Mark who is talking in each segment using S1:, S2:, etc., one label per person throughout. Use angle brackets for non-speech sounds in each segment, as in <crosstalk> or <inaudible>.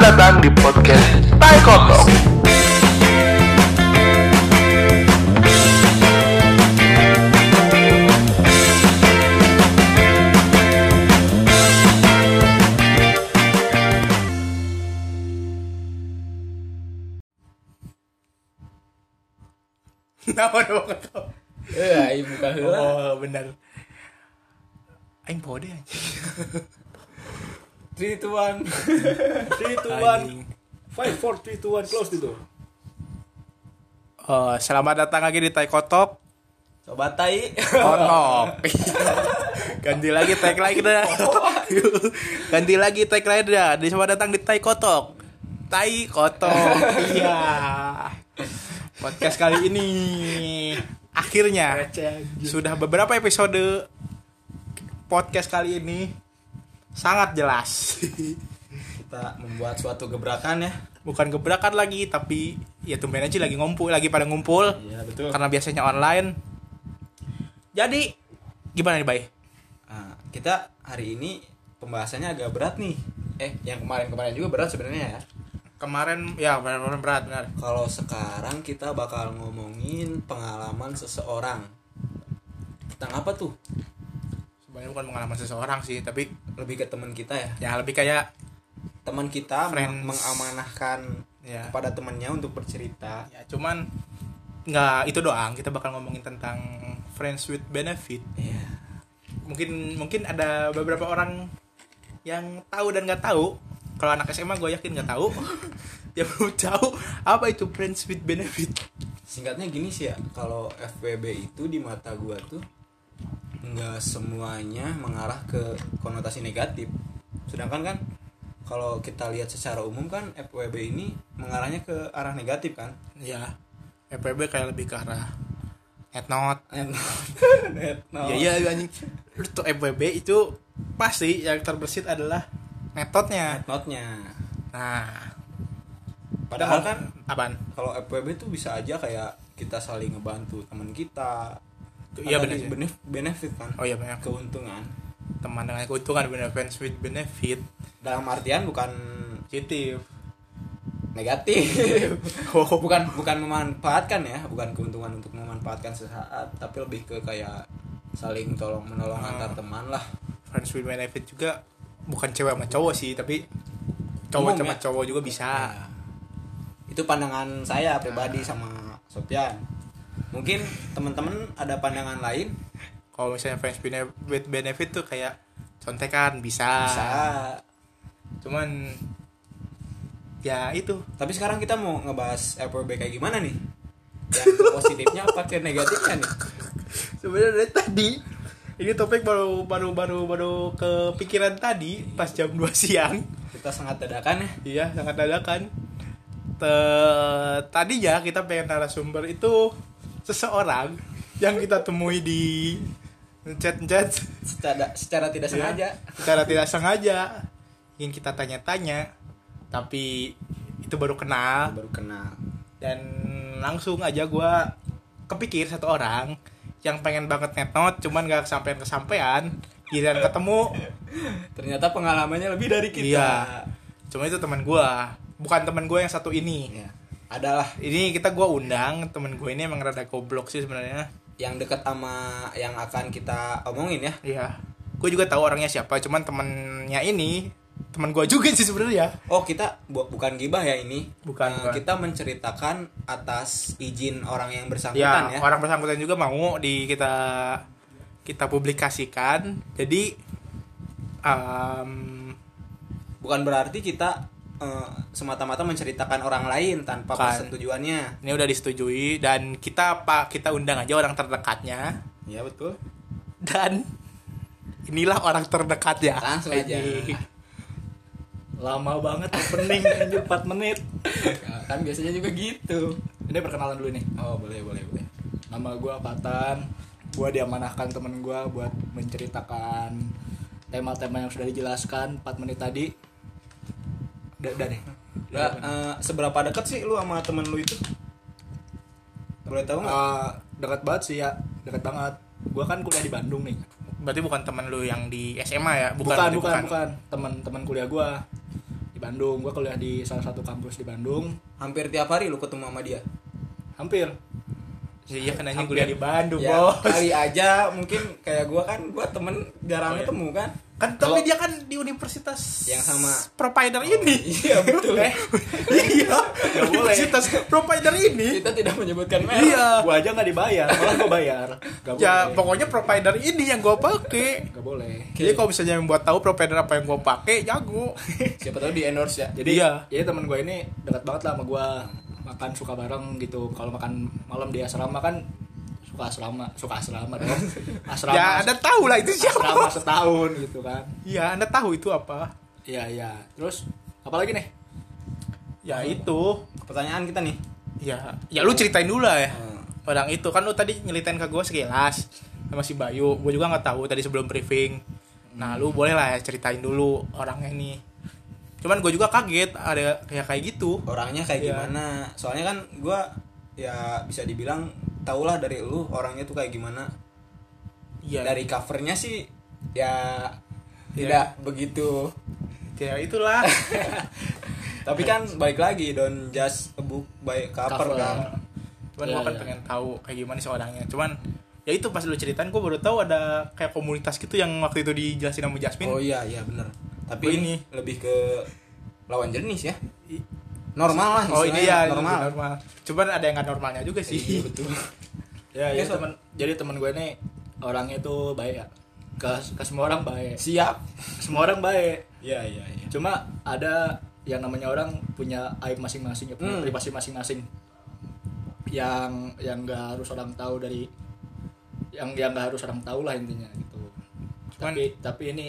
S1: datang di podcast Tai Kotok.
S2: Kenapa dong tau?
S3: Eh, ibu buka heula.
S2: Oh benar. Aing bode anjing.
S3: 3 to <laughs> 1. 3 to
S2: Anjing.
S3: 1. 5 4 3 2 1 close itu.
S2: Eh, selamat datang lagi di Tai Kotok.
S3: Coba tai.
S2: Kotok. Ganti lagi tag lagi dah. Ganti lagi tag lagi dah. Di- Selamat datang di Tai Kotok. Tai Kotok. Iya. Podcast kali ini akhirnya sudah beberapa episode podcast kali ini sangat jelas.
S3: Kita membuat suatu gebrakan ya.
S2: bukan gebrakan lagi tapi ya tumben aja lagi ngumpul lagi pada ngumpul
S3: Iya, betul.
S2: karena biasanya online jadi gimana nih bay
S3: Nah, kita hari ini pembahasannya agak berat nih. Eh, yang kemarin-kemarin juga berat sebenarnya ya.
S2: kemarin ya kemarin berat benar
S3: Kalau sekarang kita bakal ngomongin pengalaman seseorang. Tentang apa tuh?
S2: sebenarnya bukan pengalaman seseorang sih tapi
S3: Lebih ke teman kita ya.
S2: ya lebih kayak
S3: Teman kita
S2: Friends.
S3: meng- mengamanahkan
S2: ya,
S3: kepada temannya untuk bercerita.
S2: ya cuman nggak itu doang kita bakal ngomongin tentang friends with benefit
S3: Iya.
S2: mungkin mungkin ada beberapa orang yang tahu dan nggak tahu kalau anak SMA gue yakin nggak tahu <laughs> dia belum tahu apa itu friends with benefit
S3: singkatnya gini sih ya kalau FWB itu di mata gua tuh nggak semuanya mengarah ke konotasi negatif sedangkan kan kalau kita lihat secara umum kan FWB ini mengarahnya ke arah negatif kan
S2: Ya, FPB kayak lebih ke arah etnot.
S3: And- <laughs> Net, no.
S2: Ya iya anjing. Untuk FPB itu pasti yang terbersit adalah metodenya.
S3: notnya
S2: Nah,
S3: padahal kan
S2: apaan?
S3: kalau FWB tuh bisa aja kayak kita saling ngebantu teman kita
S2: Iya,
S3: Ada
S2: bener
S3: nih
S2: sih.
S3: benef- benefit kan
S2: Oh iya banyak
S3: keuntungan
S2: teman dengan keuntungan bener friends with benefit
S3: dalam artian bukan
S2: positif.
S3: negatif
S2: <laughs> Oh,
S3: bukan bukan memanfaatkan ya bukan keuntungan untuk memanfaatkan sesaat tapi lebih ke kayak saling tolong menolong
S2: Hmm.
S3: antar teman lah
S2: friends with benefit juga bukan cewek sama cowok sih, tapi cowok
S3: Umum
S2: sama
S3: ya?
S2: cowok juga bisa.
S3: Nah, itu pandangan
S2: Ah.
S3: saya pribadi sama Sofian mungkin teman-teman ada pandangan lain
S2: Kalau misalnya friends bene- with benefit tuh kayak contekan bisa.
S3: bisa
S2: Cuman ya itu
S3: tapi sekarang kita mau ngebahas FWB kayak gimana nih yang ke positifnya apa ke negatifnya nih
S2: sebenarnya dari tadi ini topik baru baru baru baru kepikiran tadi pas jam 2 siang
S3: kita sangat dadakan ya
S2: iya sangat dadakan Te- tadinya kita pengen narasumber itu seseorang yang kita temui di chat chat
S3: secara secara tidak
S2: Iya.
S3: sengaja
S2: secara tidak sengaja ingin kita tanya-tanya tapi itu baru kenal
S3: baru kenal
S2: dan langsung aja gua kepikir satu orang yang pengen banget netnot cuman gak kesampaian kesampaian giliran ketemu
S3: ternyata pengalamannya lebih dari kita
S2: Iya. cuma itu teman gua bukan teman gua yang satu ini
S3: ya adalah
S2: ini kita gua undang teman gue ini emang rada goblok sih sebenarnya
S3: yang dekat sama yang akan kita omongin ya
S2: iya gue juga tahu orangnya siapa cuman temennya ini teman gua juga sih sebenarnya
S3: oh kita bu- bukan gibah ya ini
S2: Bukan,
S3: Eh,
S2: bukan.
S3: kita menceritakan atas izin orang yang bersangkutan
S2: ya,
S3: ya,
S2: orang bersangkutan juga mau di kita kita publikasikan jadi em,
S3: bukan berarti kita eh, semata-mata menceritakan orang lain tanpa
S2: Bukan.
S3: persetujuannya
S2: ini udah disetujui dan kita pak kita undang aja orang terdekatnya
S3: ya betul
S2: dan inilah orang terdekatnya
S3: Langsung aja.
S2: Ini. lama banget opening anjir 4 menit
S3: kan biasanya juga gitu
S4: Ini perkenalan dulu nih.
S3: oh boleh boleh boleh
S4: Nama gua Patan. Gua diamanahkan temen gua buat menceritakan tema-tema yang sudah dijelaskan 4 menit tadi. Udah, udah deh.
S3: Lah, eh, seberapa dekat sih lu sama temen lu itu boleh tahu nggak
S4: Eh, dekat banget sih ya, dekat banget. Gua kan kuliah di Bandung nih.
S2: berarti bukan teman lu yang di SMA ya
S4: Bukan, bukan,
S2: berarti
S4: bukan. Teman-teman kuliah gua di di Bandung gue kuliah di salah satu kampus di Bandung
S3: hampir tiap hari lu ketemu sama dia
S4: hampir
S2: Iya kan anjing
S4: hampir
S2: kuliah
S4: di Bandung
S3: ya
S4: bos
S3: kali aja mungkin kayak gua kan gua temen
S4: Oh,
S3: jarang
S4: iya.
S3: ketemu
S4: <laughs>
S3: kan
S2: Kan tapi dia kan di universitas
S3: Yang sama.
S2: provider ini.
S3: iya betul
S2: <laughs> Eh, iya.
S4: Oh, Nggak boleh.
S2: Universitas provider ini.
S3: kita tidak menyebutkan merek
S2: Iya.
S4: gue aja nggak dibayar malah gue bayar gak
S2: Ya
S4: boleh
S2: pokoknya provider ini yang gue pakai.
S4: gak boleh
S2: Jadi kalau misalnya yang buat tahu provider apa yang gue pakai, jago. <laughs>
S3: siapa tahu di endorse ya
S4: jadi
S2: Iya.
S4: jadi teman gue ini dekat banget lah sama gue makan suka bareng gitu kalau makan malam di asrama kan suka asrama suka asrama
S3: <laughs>
S4: dong asrama
S2: ya anda tahu lah itu
S4: asrama
S2: siapa.
S4: setahun gitu kan
S2: Ya anda tahu itu apa?
S4: iya iya terus apalagi nih
S2: Ya itu.
S3: pertanyaan kita nih
S2: Ya, ya lu ceritain dulu lah ya.
S3: Hmm.
S2: Orang itu kan lu tadi nyelitain ke gue sekilas sama si Bayu. Gue juga nggak tahu tadi sebelum briefing. Nah, lu boleh lah ya ceritain dulu orangnya nih. Cuman gue juga kaget ada kayak kayak gitu.
S3: orangnya kayak
S2: Iya.
S3: gimana soalnya kan gua ya bisa dibilang tahulah dari lu orangnya tuh kayak gimana
S2: Iya.
S3: dari covernya sih ya
S2: Iya.
S3: tidak begitu
S2: ya itulah.
S3: tapi kan
S2: <laughs>
S3: baik lagi don't just a book by cover,
S4: Cover.
S3: kan
S2: Cuman
S4: Iya,
S2: gue kan
S4: iya.
S2: pengen tahu kayak gimana sih orangnya. Cuman ya itu pas lu ceritain gue baru tahu ada kayak komunitas gitu yang waktu itu dijelasin sama Jasmine.
S3: oh iya iya bener
S2: Oh,
S3: tapi
S2: ini.
S3: ini lebih ke lawan jenis ya normal lah
S2: Oh
S3: istilahnya,
S2: ini ya
S3: normal,
S2: normal. normal. Cuman ada yang nggak normalnya juga
S3: Iya,
S2: sih. <laughs>
S3: betul
S4: ya,
S3: Oke,
S4: ya
S3: so-
S4: teman jadi teman gue ini orangnya tuh baik ya ke, ke semua orang baik
S3: siap
S4: semua orang baik
S3: iya iya iya
S4: cuma ada yang namanya orang punya aib masing-masing ya,
S3: Hmm.
S4: punya privasi masing-masing yang yang nggak harus orang tahu dari yang yang nggak harus orang tahu lah intinya gitu
S2: Cuman-
S4: tapi tapi ini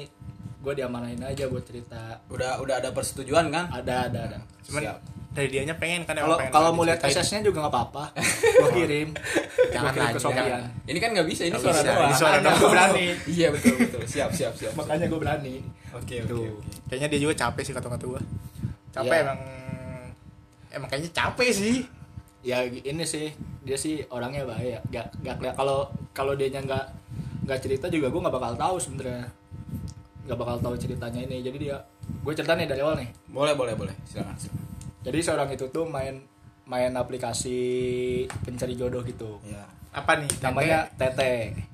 S4: gue diamanahin aja buat cerita
S3: udah udah ada persetujuan kan
S4: ada ada ada
S2: Cuman
S3: Siap.
S2: dari dianya pengen kan emang
S4: kalau
S2: pengen
S4: kalau
S2: banget
S4: mau lihat
S2: diceritain.
S4: SS-nya juga
S2: <laughs>
S4: nggak apa-apa gue kirim gue
S2: Jangan
S4: kirim ke
S2: lah,
S4: Sofian
S2: jangan.
S3: ini kan nggak bisa ini
S2: Nggak bisa,
S3: suara doang
S2: ini suara
S3: Makanya.
S2: doang, gua berani.
S3: iya betul betul siap siap siap siap.
S4: makanya gue berani
S3: oke
S4: Gitu.
S3: oke oke.
S2: kayaknya dia juga capek sih kata-kata gue capek
S4: Iya.
S2: emang emang kayaknya capek sih
S4: ya ini sih dia sih orangnya bahaya gak gak keliat- kalau kalau dia nggak nggak cerita juga gue nggak bakal tahu sebenarnya nggak bakal tahu ceritanya ini jadi dia gue cerita nih dari awal nih
S3: boleh boleh boleh silakan silakan.
S4: jadi seorang itu tuh main main aplikasi pencari jodoh gitu
S3: ya
S2: apa nih capek?
S4: namanya TT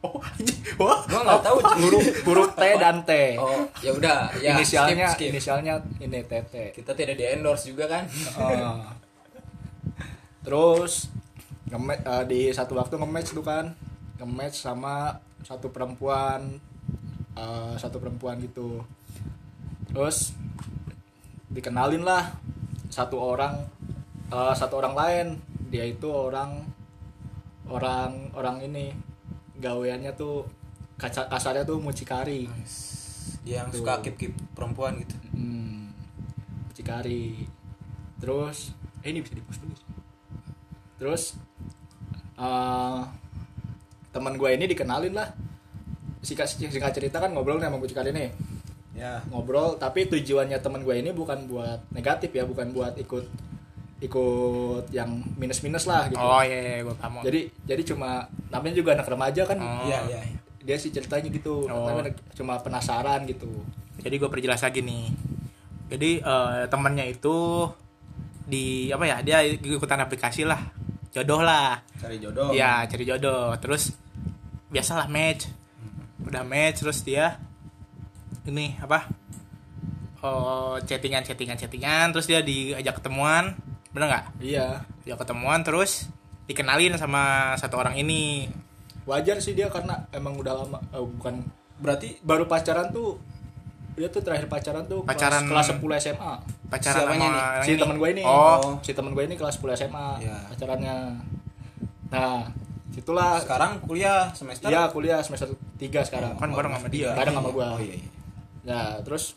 S2: oh anjing. wah
S3: gua nggak <laughs> tahu
S4: huruf huruf T dan T
S3: oh ya udah ya
S4: inisialnya
S3: skip, skip.
S4: inisialnya ini TT
S3: kita tidak di endorse juga kan
S4: Oh. Terus nge-match eh, di satu waktu nge-match tuh kan. Nge-match sama satu perempuan eh, satu perempuan gitu. Terus dikenalin lah satu orang eh, satu orang lain. Dia itu orang orang orang ini gaweannya tuh kaca kasarnya tuh mucikari.
S3: <laughs> Dia yang suka kip kip perempuan gitu
S4: Hmm, Cikari. Terus, eh ini bisa di-post dulu. sih. Terus, eh teman gue ini dikenalin lah. Singkat, singkat cerita kan ngobrol nih sama gue Cikari nih.
S3: ya
S4: Ngobrol, tapi tujuannya teman gue ini bukan buat negatif ya, bukan buat ikut ikut yang minus-minus lah gitu.
S2: oh iya iya gue paham
S4: Jadi jadi cuma namanya juga anak remaja kan.
S2: Oh.
S3: iya iya
S4: Dia sih ceritanya gitu,
S2: Oh.
S4: namanya cuma penasaran gitu.
S2: jadi gue perjelas lagi nih jadi eh, temannya itu di apa ya dia ikutan aplikasi lah jodoh lah
S3: cari jodoh
S2: Iya cari jodoh terus biasalah match udah match terus dia ini apa oh chattingan chattingan chattingan terus dia diajak ketemuan bener nggak
S4: Iya.
S2: dia ketemuan terus dikenalin sama satu orang ini
S4: wajar sih dia karena emang udah lama eh, bukan
S3: berarti
S4: baru pacaran tuh dia tuh terakhir pacaran tuh kelas-
S2: Pacaran-
S4: kelas, 10 SMA
S2: pacaran sama
S3: Siapanya nih?
S2: orang
S4: si teman gue ini
S2: oh
S4: si teman gue ini kelas 10 SMA
S3: Iya.
S4: pacarannya nah situlah
S3: sekarang kuliah semester
S4: dia kuliah semester 3 sekarang
S2: kan bareng sama dia
S4: Bareng sama gua.
S3: oh iya iya
S4: nah terus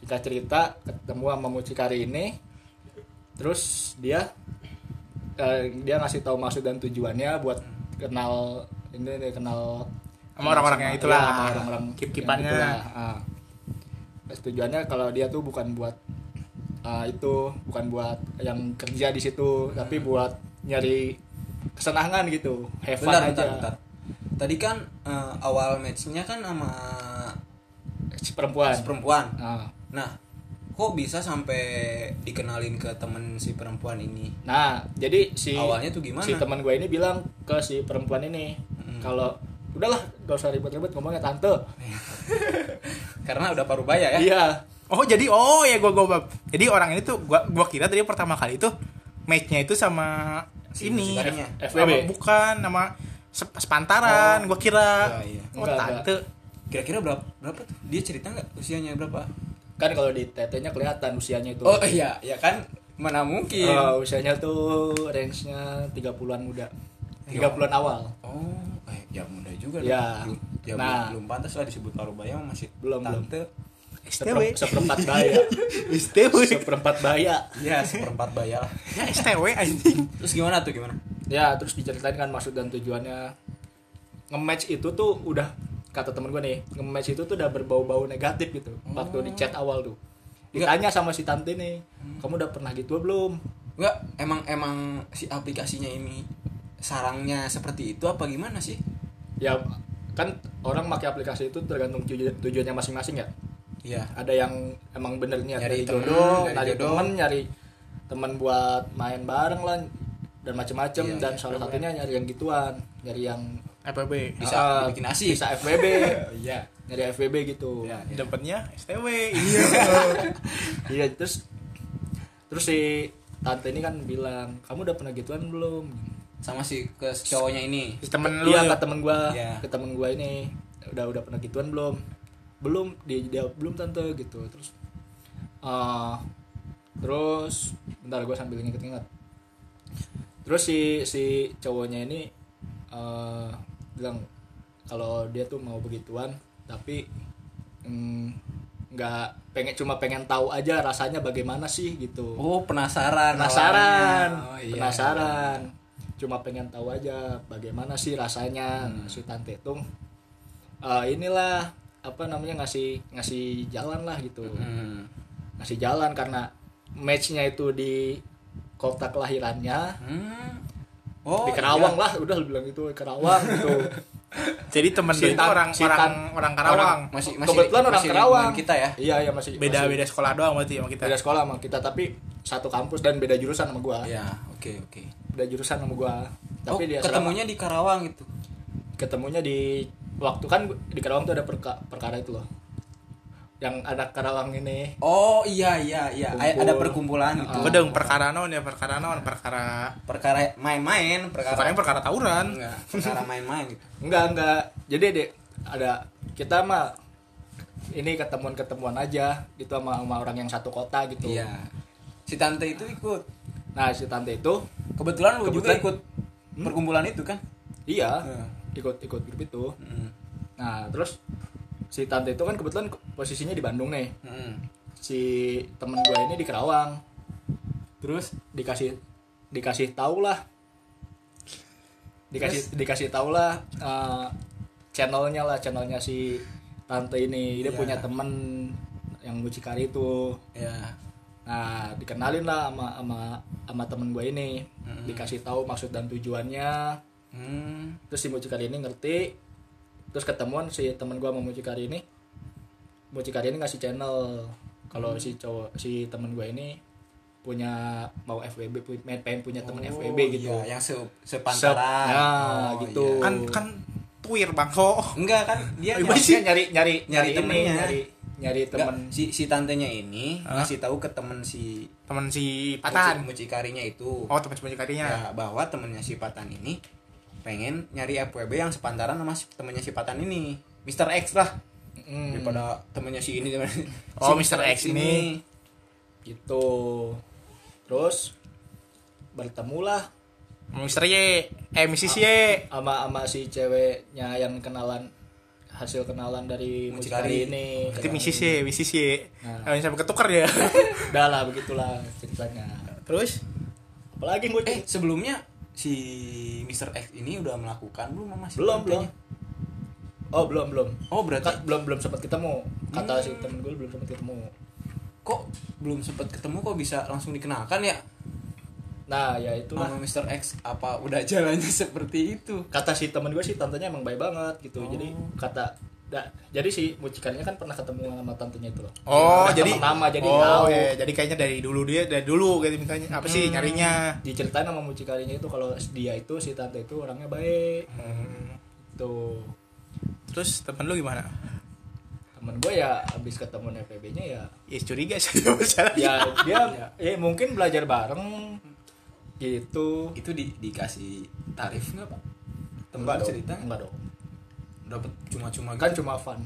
S4: kita cerita ketemu sama mucikari ini terus dia eh, dia ngasih tahu maksud dan tujuannya buat kenal ini nih, kenal
S2: Sama orang-orang yang itulah.
S4: iya, sama orang-orang
S2: Kip-kipannya.
S4: yang itulah. Ah. Terus tujuannya kalau dia tuh bukan buat ah, itu bukan buat yang kerja di situ tapi buat nyari kesenangan gitu have fun
S3: bentar
S4: aja
S3: bentar bentar tadi kan eh, awal matchnya kan sama
S4: si perempuan
S3: perempuan
S4: Ah.
S3: Nah, kok bisa sampai dikenalin ke temen si perempuan ini
S4: Nah, jadi si
S3: Awalnya tuh gimana? Hmm.
S4: Si teman gue ini bilang ke si perempuan ini kalau udahlah gak usah ribet-ribet ngomongnya tante.
S3: karena udah parubaya ya
S4: Iya.
S2: Oh jadi oh ya gua gua jadi orang ini tuh gua gua kira tadi pertama kali tuh matchnya itu sama
S3: Si-
S2: ini
S3: si tadinya.
S2: Sama,
S4: FWB.
S2: bukan nama se- sepantaran gua kira
S3: Iya, iya.
S2: oh
S4: Enggak,
S2: tante
S3: kira-kira berapa berapa tuh dia cerita nggak usianya berapa
S4: Kan kalau di tetenya kelihatan usianya itu.
S3: oh iya ya kan mana mungkin
S4: Eh, usianya tuh range-nya 30-an muda.
S3: Ya
S4: 30-an awal.
S3: oh eh, ya muda juga
S4: Iya.
S3: dong. ya belum-
S4: Nah.
S3: belum pantas lah disebut parubaya masih
S4: Belum, belum.
S3: tante
S4: Seper-
S2: STW
S4: seperempat
S3: <laughs>
S4: baya.
S2: STW
S4: seperempat baya.
S3: ya seperempat baya lah
S2: ya STW anjing
S3: terus gimana tuh gimana
S4: Ya, terus diceritain kan maksud dan tujuannya nge-match itu tuh udah kata temen gue nih, nge-match itu tuh udah berbau-bau negatif gitu. Waktu di chat
S3: Hmm.
S4: awal tuh.
S3: Iya.
S4: Ditanya sama si tante nih, "Kamu udah pernah gitu belum?"
S3: Enggak, emang emang si aplikasinya ini sarangnya seperti itu apa gimana sih?
S4: Ya kan orang pakai aplikasi itu tergantung tuju- tujuannya masing-masing ya.
S3: Iya.
S4: ada yang emang bener niat
S3: Nyari
S4: nyari,
S3: temen,
S4: jodoh,
S3: nyari
S4: nyari
S3: jodoh.
S4: temen, nyari temen buat main bareng lah dan macem-macem
S3: Iya,
S4: dan
S3: iya,
S4: salah satunya nyari yang gituan, nyari yang
S2: FWB
S3: Bisa
S4: Ah,
S3: dibikin nasi.
S4: bisa FWB,
S3: <laughs> Iya.
S4: nyari FWB gitu.
S3: Iya.
S2: dapatnya STW iya
S4: Iya, terus terus si tante ini kan bilang, "Kamu udah pernah gituan belum?"
S3: Sama si ke si cowoknya ini.
S2: <laughs> temen lu
S4: Iya,
S2: ya.
S4: ke temen gua,
S3: Iya.
S4: ke temen gua ini udah udah pernah gituan belum? Belum, dia, dia belum tante gitu. Terus eh terus bentar gua sambil inget-inget. Terus si si cowoknya ini eh bilang kalau dia tuh mau begituan tapi mm, nggak pengen cuma pengen tahu aja rasanya bagaimana sih gitu
S3: Oh, penasaran.
S4: penasaran
S3: awalnya. Oh, iya.
S4: penasaran cuma pengen tahu aja bagaimana sih rasanya
S3: Hmm.
S4: si tante tung eh, inilah apa namanya ngasih ngasih jalan lah gitu
S3: Hmm.
S4: ngasih jalan karena matchnya itu di kota kelahirannya
S3: Hmm. Oh,
S4: di Karawang lah udah lu bilang itu Karawang gitu
S2: jadi temen lu
S4: Si
S2: itu
S4: Tan-
S2: orang
S4: si
S2: orang
S4: Tan-
S2: orang Karawang
S3: Orang- <laughs> Masih- masih-
S4: kebetulan orang
S3: masih lingkungan
S4: Karawang
S3: kita ya?
S4: iya iya masih
S2: beda
S4: masih
S2: beda sekolah doang berarti sama kita
S4: beda sekolah sama kita tapi satu kampus dan beda jurusan sama gua
S3: Iya, oke, oke.
S4: beda jurusan sama gua tapi
S3: oh,
S4: dia selama-
S3: ketemunya di Karawang gitu.
S4: ketemunya di waktu kan di Karawang tuh ada perka- perkara itu loh yang ada Karawang ini
S3: Oh, iya iya iya. Ay-
S4: Kumpul.
S3: Ada perkumpulan gitu.
S2: Gua dong perkara non ya perkara non perkara
S3: Perkara main-main, perkara
S2: perkara yang perkara tawuran
S4: <laughs>
S3: Enggak, perkara main-main gitu.
S4: enggak enggak jadi dek ada kita mah ini ketemuan ketemuan aja gitu sama, sama orang yang satu kota gitu
S3: Iya. Si tante itu ikut.
S4: nah si tante itu
S3: Kebetulan lu juga
S4: Kebetulan-
S3: ikut perkumpulan itu kan?
S4: iya
S3: Iya.
S4: ikut ikut grup itu
S3: Hmm.
S4: nah terus si tante itu kan kebetulan posisinya di Bandung nih
S3: Hmm.
S4: si temen gue ini di Karawang
S3: Terus
S4: dikasih dikasih tahu lah dikasih dikasih tahu lah eh, channelnya lah channelnya si tante ini dia
S3: Iya.
S4: punya temen yang mucikari itu
S3: ya
S4: nah dikenalin lah sama sama sama temen gue ini dikasih tahu maksud dan tujuannya
S3: hmm.
S4: terus si mucikari ini ngerti terus ketemuan si temen gue sama mucikari ini mucikari ini ngasih channel kalau
S3: Hmm.
S4: si cowok si temen gue ini punya mau FWB pu- main- pengen punya temen
S3: Oh,
S4: FWB gitu
S3: iya, yang se sepantaran.
S4: Sep- nah,
S3: Oh,
S4: gitu.
S3: iya.
S2: kan kan tuir bangso
S3: Enggak kan dia
S4: Iya,
S3: nyari-
S4: maksudnya nyari nyari
S3: Nyari
S4: nyari, ini,
S3: temennya.
S4: nyari nyari
S3: enggak,
S4: temen
S3: si si tantenya ini
S2: Hah?
S3: ngasih tahu ke temen si
S2: temen si
S3: Patan
S2: Patan
S3: mucikarinya itu.
S2: oh temen si
S4: iya.
S2: mucikarinya
S3: Ya, bahwa temennya si Patan ini pengen nyari FWB yang sepantaran sama si- temennya si Patan ini. Mr. X lah.
S4: Mm,
S3: Daripada <laughs> temennya si ini temennya-
S2: Oh,
S3: si
S2: Mr. X ini.
S4: gitu terus bertemulah
S2: Mister Y eh Mrs. Y
S4: sama sama si ceweknya yang kenalan hasil kenalan dari
S3: Mucikari.
S4: mucikari, ini
S2: Itu misis ya, misis ya.
S4: Nah.
S2: Nah. sampai ketukar ya.
S4: udah lah begitulah ceritanya
S2: Terus?
S4: apalagi gue
S3: Eh, sebelumnya si Mr. X ini udah melakukan belum sama si
S4: belum belum
S3: tantenya?
S4: oh belum belum
S3: Oh, berarti
S4: Ka- belum belum sempat ketemu kata si temen gue belum sempat ketemu
S3: kok belum sempat ketemu kok bisa langsung dikenalkan ya
S4: nah ya itulah
S3: sama Mr. X apa udah jalannya <laughs> seperti itu
S4: kata si temen gue sih tantenya emang baik banget gitu jadi kata Da- jadi si mucikarinya kan pernah ketemu sama tantenya itu loh.
S2: <laughs> Oh,
S4: Pernah
S2: jadi
S4: temen lama jadi
S2: Oh,
S4: tahu. Hmm.
S2: iya, jadi kayaknya dari dulu dia dari dulu gitu mintanya. Apa sih nyarinya?
S4: Diceritain sama mucikarinya itu kalau dia itu si tante itu orangnya baik. Gitu. Tuh.
S2: Terus temen lu gimana?
S4: Temen gue ya habis ketemu FPB-nya ya
S2: Ya curiga sih <laughs> dia masalah.
S4: ya dia eh mungkin belajar bareng gitu.
S3: itu di, dikasih tarif nggak pak temen
S4: Enggak
S3: lu
S4: dong,
S3: cerita
S4: enggak dong.
S3: dapat cuma-cuma
S4: Kan
S3: gitu
S4: cuma fun.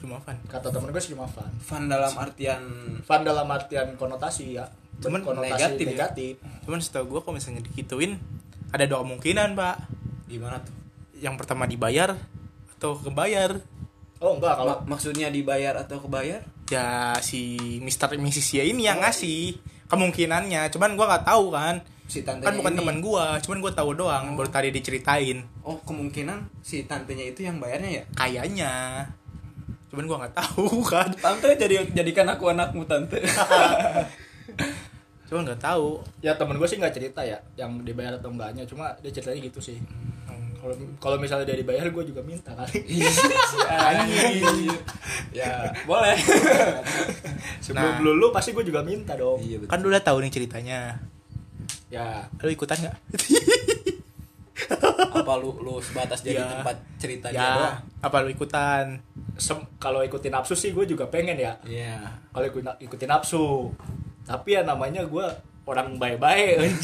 S2: Cuma fun.
S4: Kata temen gue sih cuma fun.
S3: fun dalam artian
S4: Fun dalam artian konotasi ya.
S2: Cuman
S4: konotasi
S3: negatif
S4: negatif.
S3: ya?
S2: Cuman setahu gua kalau misalnya dikituin ada dua kemungkinan, Pak.
S3: gimana tuh
S2: Yang pertama dibayar atau kebayar.
S4: Oh enggak kalau
S3: Ma- maksudnya dibayar atau kebayar
S2: Ya si Mister Mrs. ya ini yang ngasih kemungkinannya. Cuman gua nggak tahu kan.
S3: si tante
S2: Kan bukan teman gua, cuman gua tahu doang baru tadi diceritain.
S3: oh kemungkinan si tantenya itu yang bayarnya ya
S2: Kayaknya. Cuman gua nggak tahu <laughs> kan.
S3: tante jadi jadikan aku anakmu tante
S2: Cuman nggak tahu.
S4: ya temen gue sih nggak cerita ya yang dibayar atau enggaknya cuma dia ceritanya gitu sih kalau kalau misalnya dia dibayar gue juga minta kali
S3: Iya. ya boleh
S4: <laughs> sebelum
S2: Nah.
S4: lulu pasti gue juga minta dong
S3: iya betul
S2: Kan lu udah tahu nih ceritanya.
S4: ya
S2: Lu ikutan nggak?
S3: apa lu lu sebatas jadi
S2: Ya.
S3: tempat cerita dia doang
S2: ya, apa lu ikutan?
S4: sem- kalau ikutin nafsu sih gue juga pengen ya
S3: iya
S4: kalau ikutin, ikutin nafsu tapi ya namanya gue orang baik-baik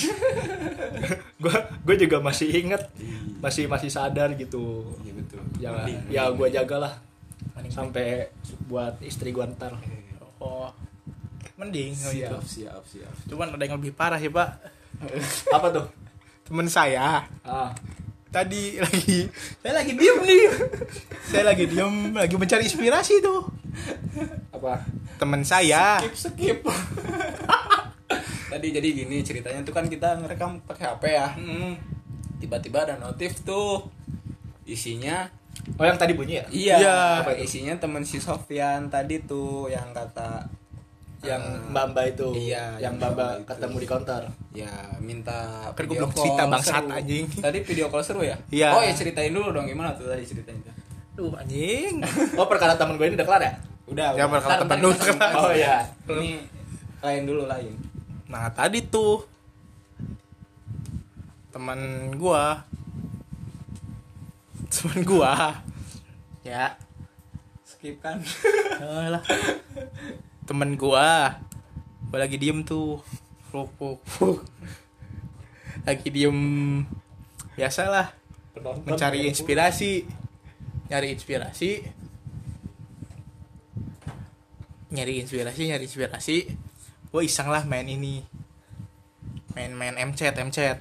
S4: gue gue juga masih inget masih masih sadar gitu
S3: iya betul
S4: ya
S3: Mending,
S4: ya
S3: mending.
S4: gue jagalah sampai buat istri gue ntar
S2: Oh. Mending kalau gitu.
S3: siap siap siap
S2: Cuman ada yang lebih parah sih, Pak.
S4: <laughs> apa tuh
S2: Temen saya
S4: ah
S2: tadi <laughs> lagi saya lagi diem nih. <laughs> saya lagi diem lagi mencari inspirasi tuh.
S4: apa
S2: Temen saya.
S3: skip skip tadi jadi gini ceritanya tuh kan kita ngerekam pakai HP ya
S2: Mm.
S3: tiba-tiba ada notif tuh isinya
S4: Oh yang tadi bunyi ya?
S3: iya
S2: Iya.
S3: apa, isinya temen si Sofyan tadi tuh yang kata
S4: Yang
S3: eh,
S4: Mbak Mbak itu.
S3: Iya, yang
S4: Ah, Yang Mbak Mbak
S3: Mbak itu.
S4: ketemu di counter.
S3: ya minta
S2: Kan
S3: video
S2: gua belum cerita,
S3: call
S2: bangsat,
S3: seru.
S2: anjing.
S3: tadi video call seru ya
S2: Iya.
S3: oh ya ceritain dulu dong gimana tuh tadi ceritain tuh
S2: Duh, anjing.
S4: Oh perkara teman gue ini udah kelar ya?
S3: udah
S2: Ya,
S3: udah.
S2: kalau
S3: Ntar,
S2: temen
S3: ntar
S2: lu
S3: kita
S2: kenal.
S3: temen.
S4: Oh, iya.
S3: ini lain dulu lain
S2: Nah, tadi tuh teman gua teman gua ya
S3: skip kan
S2: Alah. Temen gua Gua lagi diem tuh Fuk, fuk, fuk. Lagi diem Biasalah Mencari inspirasi Nyari inspirasi Nyari inspirasi Nyari inspirasi Gua iseng lah main ini Main-main MChat MChat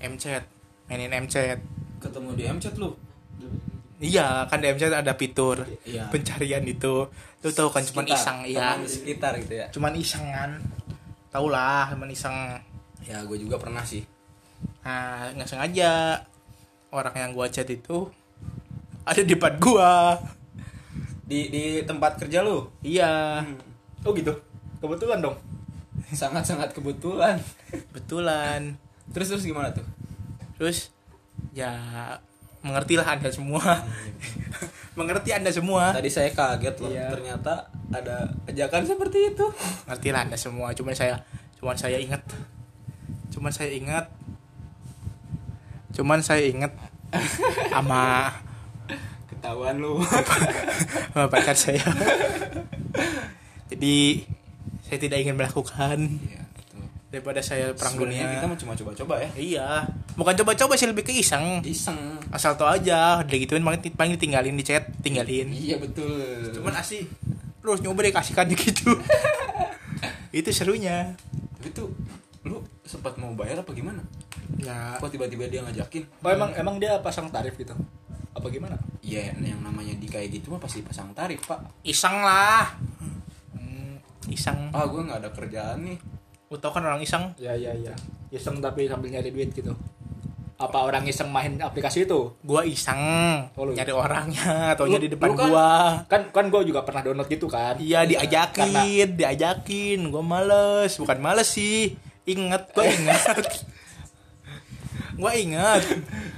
S2: MChat Mainin MChat
S3: ketemu di MChat lu
S2: Iya kan di MChat ada fitur
S3: Iya.
S2: Pencarian itu Lu tau kan cuman
S3: Sekitar,
S2: iseng Iya
S3: teman di sekitar gitu ya
S2: cuman iseng kan tau lah cuman iseng
S3: ya gue juga pernah sih
S2: nah nggak sengaja orang yang gua chat itu ada di depan gua
S3: di di tempat kerja lu
S2: iya
S3: Hmm. <laughs>
S4: Oh gitu. Kebetulan dong.
S3: sangat sangat kebetulan
S2: betulan
S3: terus terus gimana tuh
S2: terus ya mengertilah anda semua <laughs> mengerti anda semua
S3: tadi saya kaget loh
S4: Iya.
S3: ternyata ada ajakan seperti itu
S2: mengertilah anda semua cuman saya cuman saya ingat cuman saya ingat cuman saya ingat <laughs> sama
S3: ketahuan lu
S2: sama pacar saya. Jadi saya tidak ingin melakukan
S3: <laughs> iya betul
S2: daripada saya perang
S3: Sebenarnya
S2: dunia.
S3: kita mau cuma coba-coba ya
S2: Iya, bukan coba-coba sih lebih ke iseng.
S3: iseng
S2: Asal tau aja, udah gituin paling paling tinggalin di chat, tinggalin.
S3: iya betul
S2: Cuman asih terus nyoba deh kasihkan
S4: <laughs>
S2: gitu. Itu serunya.
S3: tapi tuh lu sempat mau bayar apa gimana
S2: Ya,
S3: kok tiba-tiba dia ngajakin
S4: Oh emang emang dia pasang tarif gitu? Apa gimana?
S3: Iya, yang namanya di kayak gitu mah pasti pasang tarif pak
S2: iseng lah. Hmm, Iseng.
S3: ah gue nggak ada kerjaan nih
S2: Lu tau kan orang iseng?
S4: Ya ya ya. Iseng tapi sambil nyari duit gitu. Apa orang iseng main aplikasi itu?
S2: Gua iseng
S4: Oh, lu-
S2: nyari orangnya atau
S4: Lu-
S2: di depan
S4: lu kan-
S2: gua.
S4: Kan kan gue juga pernah download gitu kan.
S2: Iya diajakin,
S4: Karena-
S2: diajakin. Gue males, bukan
S4: <laughs>
S2: males sih. Ingat, gue ingat. gue ingat.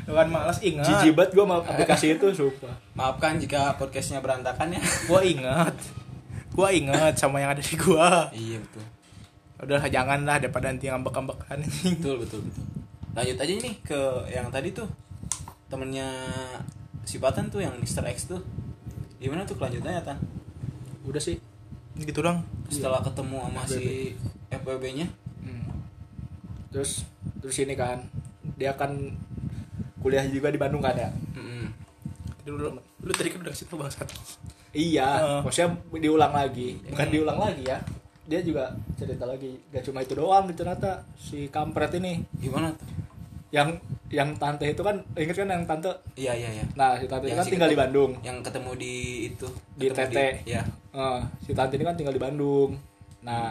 S2: Bukan malas ingat.
S4: Jijik banget gue sama aplikasi
S2: <laughs>
S4: itu, sumpah.
S3: Maafkan jika podcastnya berantakan
S4: <laughs>
S3: ya.
S2: Gua ingat. Gua ingat sama yang ada di gua.
S3: iya betul.
S2: Udahlah janganlah daripada nanti
S4: <laughs>
S2: ngambek-ambekan.
S3: Betul betul betul. Lanjut aja nih ke yang tadi tuh temennya si Patan tuh yang Mr. X tuh. Gimana tuh kelanjutannya Tan?
S4: Udah sih.
S2: gitu dong.
S3: Setelah
S4: Iya.
S3: ketemu sama si FBB-nya
S4: Hmm. Terus terus ini kan dia kan kuliah juga di Bandung kan ya?
S2: Tadi Lu, lu tadi kan udah kasih tau bangsat.
S4: Iya,
S2: Heeh. Hmm.
S4: maksudnya diulang lagi. Bukan diulang lagi ya. Dia juga cerita lagi. Gak cuma itu doang gitu, ternyata si kampret ini.
S3: Gimana tuh?
S4: Yang yang tante itu kan inget kan yang tante?
S3: Iya iya iya.
S4: Nah, si tante itu
S3: Yang
S4: kan
S3: si
S4: tinggal di
S3: ketemu-
S4: Bandung.
S2: Ya.
S3: Yang ketemu di itu
S4: Di
S3: ketemu
S4: TT.
S3: Iya.
S4: Eh, si tante ini kan tinggal di Bandung.
S2: Hmm.
S4: Nah,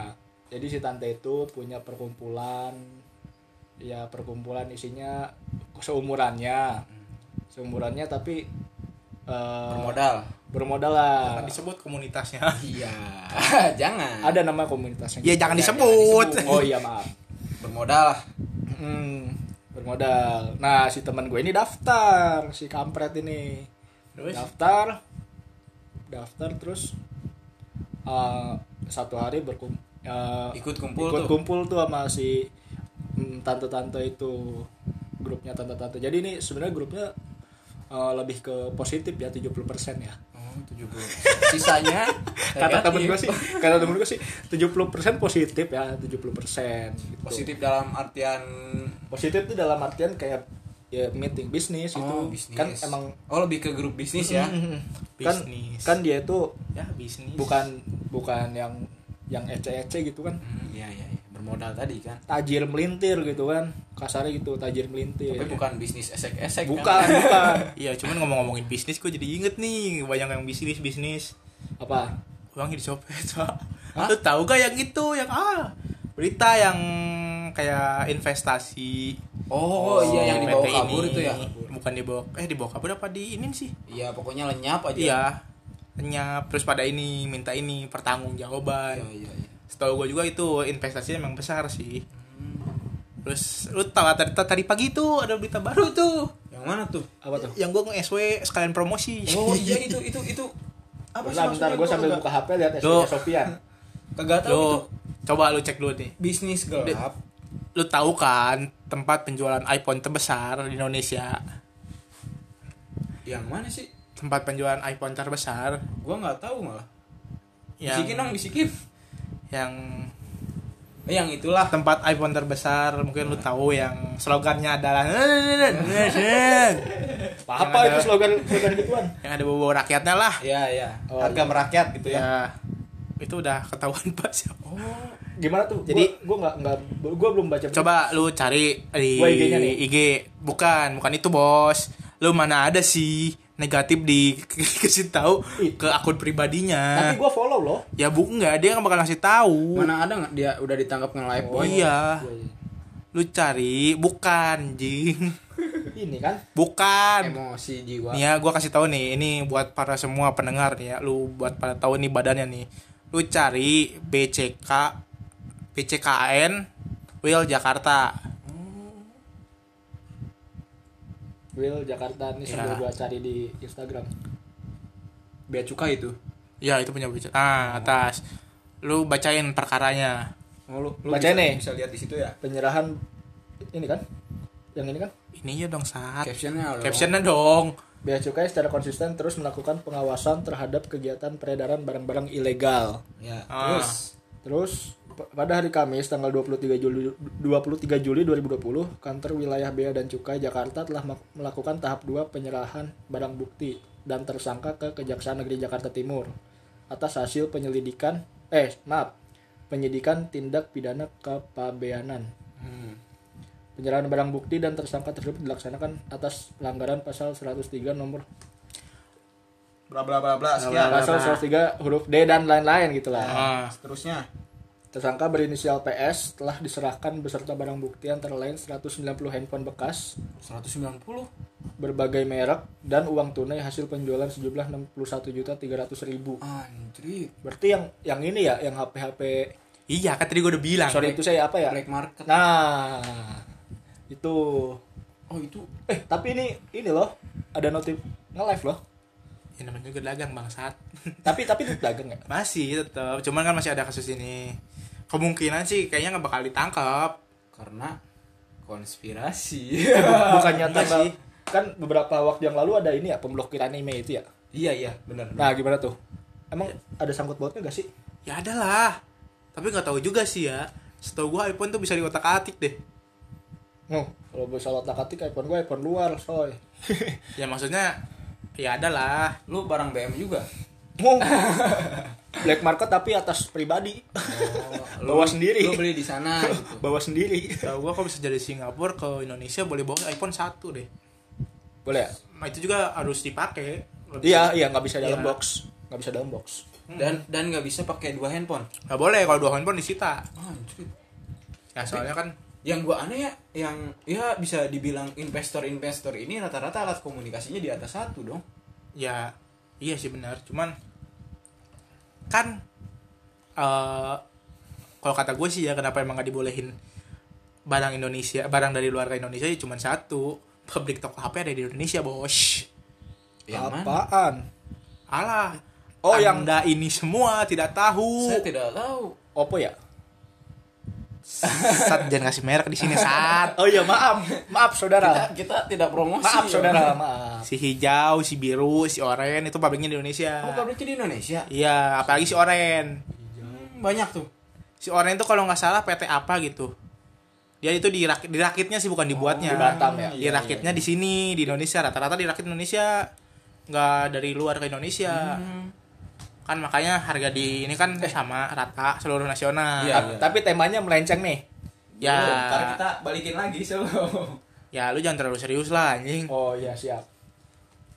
S4: jadi si tante itu punya perkumpulan ya perkumpulan isinya seumurannya.
S2: Hmm.
S4: Seumurannya tapi eh,
S3: Bermodal.
S4: bermodal lah.
S2: Kan disebut
S4: <laughs>
S2: komunitasnya.
S3: Iya. <laughs> jangan.
S4: Ada nama komunitasnya.
S2: Ya
S4: gitu.
S2: jangan
S3: Jangan
S2: disebut.
S3: disebut.
S4: Oh iya, maaf.
S3: Bermodal lah.
S4: Hmm, bermodal. Nah, si teman gue ini daftar si kampret ini.
S2: Terus?
S4: Daftar daftar terus eh, satu hari berkum eh,
S3: Ikut kumpul
S4: ikut
S3: tuh.
S4: kumpul tuh sama si mm, tante-tante itu grupnya tante-tante jadi ini sebenarnya grupnya eh, lebih ke positif ya 70% ya
S3: Oh, 70. Sisanya
S4: <laughs> kata
S3: negatif.
S4: temen gue sih kata temen gue sih 70% positif ya 70% gitu.
S3: positif dalam artian
S4: positif itu dalam artian kayak ya meeting bisnis itu
S2: Oh,
S4: kan emang
S3: oh lebih ke grup bisnis ya
S4: kan
S2: Bisnis.
S4: kan dia itu
S2: Ya bisnis.
S4: bukan bukan yang yang ece-ece gitu kan
S3: Hmm, iya iya iya. bermodal tadi kan
S4: tajir melintir gitu kan kasarnya gitu tajir melintir
S3: tapi bukan bisnis esek-esek
S4: bukan
S3: kan?
S2: <laughs>
S4: bukan
S2: Iya, cuman ngomong-ngomongin bisnis gue jadi inget nih banyak yang bisnis-bisnis.
S4: apa
S2: uangnya <laughs> dicopet pak lu tahu gak yang itu yang ah berita yang Hmm, kayak investasi
S3: <laughs> oh, iya yang
S2: di
S3: dibawa
S2: PT
S3: kabur
S2: ini.
S3: itu ya
S2: bukan dibawa eh dibawa kabur apa di ini sih
S3: iya pokoknya lenyap aja
S2: iya hanya terus pada ini minta ini
S3: iya
S2: pertanggungjawaban
S3: iya, iya.
S2: setahu gue juga itu investasinya memang besar sih
S3: Hmm.
S2: terus lu tahu nggak, tadi tadi pagi tuh ada berita baru tuh
S3: yang mana tuh
S4: apa tuh
S2: yang gue nge SW sekalian promosi
S3: oh iya
S2: <laughs>
S3: itu itu itu apa
S4: bentar bentar gue sambil buka hp lihat
S2: Loh.
S4: SDK
S2: <laughs>
S4: Sofian
S3: kagak tahu itu
S2: lu coba lu cek dulu nih
S3: bisnis gelap
S2: lu tahu kan tempat penjualan iPhone terbesar di Indonesia
S3: yang mana sih
S2: tempat penjualan iPhone terbesar
S3: gua nggak tahu malah
S2: yang
S3: bisikin dong bisikin
S2: yang
S3: Eh, yang itulah
S2: tempat iPhone terbesar mungkin lu tahu yang slogannya adalah "Eh,
S4: <laughs> apa, apa itu slogan slogan gituan
S2: yang ada bobo rakyatnya lah
S3: ya ya
S4: Oh,
S3: harga
S4: iya.
S3: merakyat gitu ya
S2: ya itu udah ketahuan <laughs> pak siapa
S3: oh
S4: gimana tuh
S2: Jadi-
S4: gue nggak nggak gue belum baca
S2: coba lu cari di
S4: Gua IG-nya nih.
S2: IG bukan bukan itu bos lu mana ada sih negatif di <laughs> kasih tahu
S4: Ih.
S2: ke akun pribadinya
S4: tapi gue follow loh
S2: ya bu enggak dia nggak bakal ngasih tahu
S3: Mana Oh, ada nggak dia udah ditangkap nge live
S4: Oh,
S3: boy?
S2: iya lu cari bukan jing
S4: ini kan
S2: bukan
S3: Emosi jiwa.
S2: nih ya gue kasih tahu nih ini buat para semua pendengar nih ya lu buat pada tahu nih badannya nih lu cari BCK BCKN Will Jakarta
S4: Will Jakarta ini
S2: Iya.
S4: sambil gue cari di Instagram
S3: Bea cukai itu.
S2: ya itu punya BCK ah atas lu bacain perkaranya
S3: Oh, lu, bisa,
S4: Bacain nih.
S3: bisa lihat di situ ya.
S4: penyerahan ini kan yang ini kan
S2: ini ya dong saat
S3: Captionnya lo.
S2: captionnya dong
S4: Bea Cukai secara konsisten terus melakukan pengawasan terhadap kegiatan peredaran barang-barang ilegal.
S3: Ya,
S2: Ah.
S3: terus
S4: Terus p- pada hari Kamis tanggal 23 Juli 23 Juli 2020, kantor wilayah Bea dan Cukai Jakarta telah mak- melakukan tahap 2 penyerahan barang bukti dan tersangka ke Kejaksaan Negeri Jakarta Timur atas hasil penyelidikan eh maaf, penyidikan tindak pidana kepabeanan.
S3: hmm.
S4: Penyerahan barang bukti dan tersangka tersebut dilaksanakan atas pelanggaran pasal 103 nomor
S3: bla bla bla bla sekian.
S4: pasal 103 huruf D dan lain-lain gitu lah.
S2: ah
S3: Seterusnya.
S4: Tersangka berinisial PS telah diserahkan beserta barang bukti antara lain 190 handphone bekas,
S3: 190.
S4: berbagai merek, dan uang tunai hasil penjualan sejumlah 61.300.000.
S3: Anjrit.
S4: Berarti yang yang ini ya, yang HP-HP
S2: iya kan tadi gue udah bilang
S4: sorry itu saya apa ya?
S3: Black market.
S4: Nah, itu
S3: oh itu
S4: Eh, tapi ini ini loh, ada notif nge-live loh. <laughs>
S2: ya namanya juga dagang bangsat
S4: Tapi tapi itu dagang ya? nggak?
S2: masih tetap cuman kan masih ada kasus ini kemungkinan sih kayaknya nggak bakal ditangkap
S3: karena konspirasi
S4: Bukannya
S2: Enggak
S4: tambah
S2: sih.
S4: kan beberapa waktu yang lalu ada ini ya pemblokiran anime itu ya.
S3: <laughs>
S2: Hmm.
S3: iya iya benar
S4: Nah, gimana tuh? Emang ada sangkut pautnya gak sih?
S2: ya ada lah tapi nggak tahu juga sih ya setahu gua iPhone tuh bisa diotak atik deh
S4: Nuh, kalau gue salah otak atik iPhone gue iPhone luar, soy.
S2: ya maksudnya ya ada lah
S3: lu barang BM juga
S4: Mau
S2: <laughs>
S4: black market tapi atas pribadi.
S3: Lu-
S4: Bawa sendiri.
S3: lu beli di sana gitu <laughs>
S4: Bawa sendiri.
S2: setahu gua kalau bisa dari Singapura ke Indonesia boleh bawa iPhone satu deh
S4: Boleh ya?
S2: nah, itu juga harus dipakai Lebih-
S4: Iya, iya nggak bisa dalam
S2: Iya.
S4: box. Nggak bisa dalam box.
S3: dan dan nggak bisa pakai dua handphone
S2: nggak boleh kalau dua handphone disita
S3: Anjir.
S2: ya soalnya kan
S3: yang gua aneh ya yang ya bisa dibilang investor-investor ini rata-rata alat komunikasinya di atas satu dong
S2: ya iya sih benar cuman kan eh kalau kata gue sih ya kenapa emang gak dibolehin barang Indonesia barang dari luar ke Indonesia ya cuman satu pabrik toko HP ada di Indonesia bos
S3: yang mana
S4: Apaan?
S2: alah
S4: Oh, yang-
S2: anda ini semua tidak tahu
S3: saya tidak tahu
S4: Oppo ya?
S2: Sat jangan kasih merek di sini Sat
S4: Oh iya, maaf. Maaf
S3: kita,
S4: saudara.
S3: kita tidak promosi
S4: Maaf
S3: ya.
S4: saudara, maaf.
S2: si hijau si biru si oranye itu pabriknya di Indonesia
S3: oh pabriknya di Indonesia
S2: iya apalagi si oranye
S3: Hmm, banyak tuh
S2: si oranye itu kalau nggak salah PT apa gitu dia itu dirak dirakitnya sih bukan dibuatnya
S4: di Batam ya?
S2: dirakitnya di sini di Indonesia rata-rata dirakit Indonesia nggak dari luar ke
S3: Ya.
S4: Hmm.
S2: Indonesia
S3: Hmm.
S2: kan makanya harga di ini kan
S4: Eh.
S2: sama rata seluruh nasional
S3: Iya.
S4: Ta- Tapi temanya melenceng nih.
S2: ya
S3: Belum, Oh, ntar kita balikin lagi sebelum
S2: ya lu jangan terlalu serius lah anjing
S4: Oh iya, siap.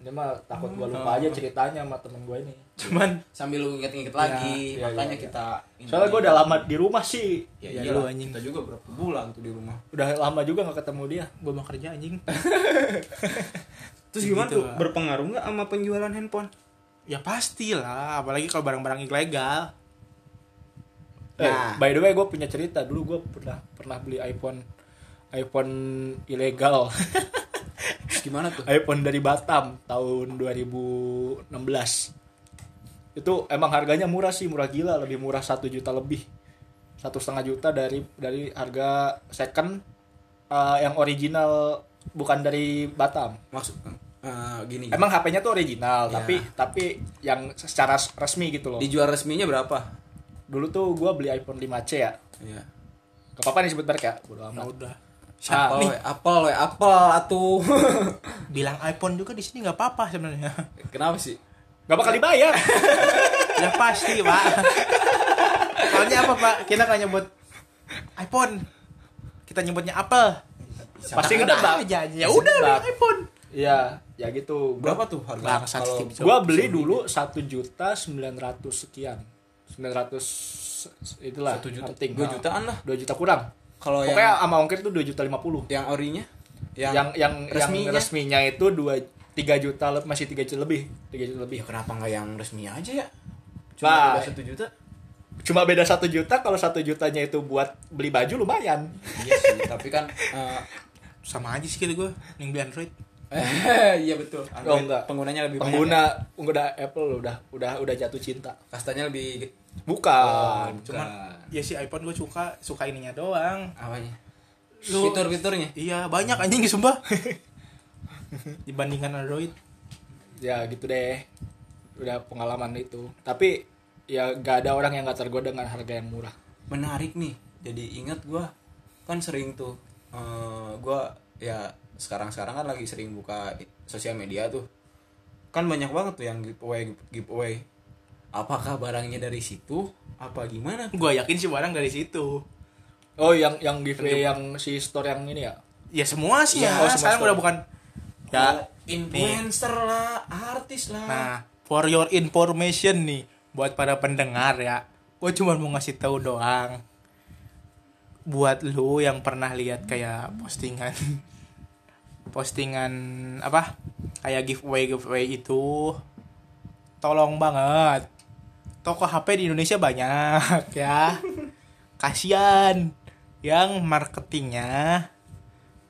S4: Ini mah takut gua lupa aja ceritanya sama temen gua ini.
S2: Hmm. cuman
S3: <laughs> sambil lu inget-inget lagi
S4: iya,
S3: makanya
S4: iya.
S3: kita
S4: Soalnya gua udah lama di rumah sih.
S3: ya,
S2: Ya, lu
S3: iyalah,
S2: anjing.
S3: kita juga berapa bulan tuh di rumah
S4: Udah lama juga nggak ketemu dia.
S2: gue mau kerja anjing
S3: terus
S2: gimana tuh?
S3: berpengaruh nggak sama penjualan handphone
S2: ya pastilah apalagi kalau barang-barang ilegal
S4: Eh,
S3: Nah.
S4: by the way gue punya cerita dulu gue pernah pernah beli iPhone iPhone ilegal <laughs>
S3: terus gimana tuh
S4: iPhone dari Batam tahun 2016 itu emang harganya murah sih murah gila lebih murah satu juta lebih satu setengah juta dari dari harga second eh, yang original bukan dari Batam
S3: maksud eh, gini, gini.
S4: emang HP-nya tuh original
S2: Iya.
S3: Ya.
S4: tapi tapi yang secara resmi gitu loh
S3: dijual resminya berapa
S4: dulu tuh gue beli iPhone 5C ya
S3: ya
S4: gak apa-apa nih sebut merek ya bodo
S2: ya
S4: amat
S2: udah
S4: Ah,
S3: Apple, we, Apple, we, Apple,
S4: <laughs>
S3: atuh.
S2: bilang iPhone juga di sini nggak apa-apa sebenarnya
S3: Kenapa sih?
S4: Gak bakal dibayar.
S2: <laughs> ya pasti pak soalnya apa pak kita nggak nyebut iPhone kita nyebutnya Apple
S4: Pasti ketebak.
S2: aja ya udah
S4: ketebak.
S2: bilang iPhone
S4: Iya, ya gitu. Gua,
S3: Berapa tuh harga?
S2: Bangsat, Steve Jobs.
S4: gua beli dulu satu juta sembilan ratus sekian. Sembilan ratus itulah.
S3: Satu juta,
S4: something.
S3: dua
S4: Nah,
S3: jutaan lah.
S4: Dua juta kurang.
S3: kalau yang
S4: Pokoknya sama ongkir tuh dua juta lima puluh.
S3: yang orinya, yang,
S4: Yang yang
S3: resminya.
S4: resminya, yang resminya itu dua tiga juta le- masih tiga juta lebih tiga juta lebih
S3: ya kenapa nggak yang resminya aja ya?
S4: Nah.
S3: Cuma beda satu juta.
S4: cuma beda satu juta kalau satu jutanya itu buat beli baju lumayan
S3: Iya sih, <laughs> tapi kan eh,
S2: sama aja sih kira gue yang beli Android
S3: eh, <laughs> iya betul.
S4: Oh, enggak.
S3: Penggunanya lebih banyak.
S4: pengguna udah Apple udah udah udah jatuh cinta
S3: ya? Kastanya lebih
S4: Ah, bukan
S2: cuman ya si iPhone gue suka suka ininya doang
S3: apanya?
S2: Lu-
S3: Fitur-fiturnya.
S2: iya banyak anjing
S4: <laughs>
S2: sumpah dibandingkan Android
S4: ya gitu deh udah pengalaman itu tapi ya gak ada orang yang gak tergoda dengan harga yang murah
S3: menarik nih jadi ingat gua kan sering tuh eh, gua ya sekarang sekarang kan lagi sering buka i- sosial media tuh kan banyak banget tuh yang giveaway giveaway apakah barangnya dari situ apa gimana
S2: gue yakin sih barang dari situ
S4: oh yang yang giveaway yang si store yang ini ya
S2: ya semua sih
S4: Iya,
S2: ya,
S4: oh, semua
S2: sekarang
S4: store.
S2: udah bukan ya
S3: influencer lah artis lah
S2: Nah, for your information nih buat para pendengar ya. Gue cuma mau ngasih tahu doang. Buat lu yang pernah lihat kayak postingan <laughs> postingan apa? Kayak giveaway giveaway itu tolong banget. Toko HP di Indonesia banyak <laughs> ya. Kasihan yang marketingnya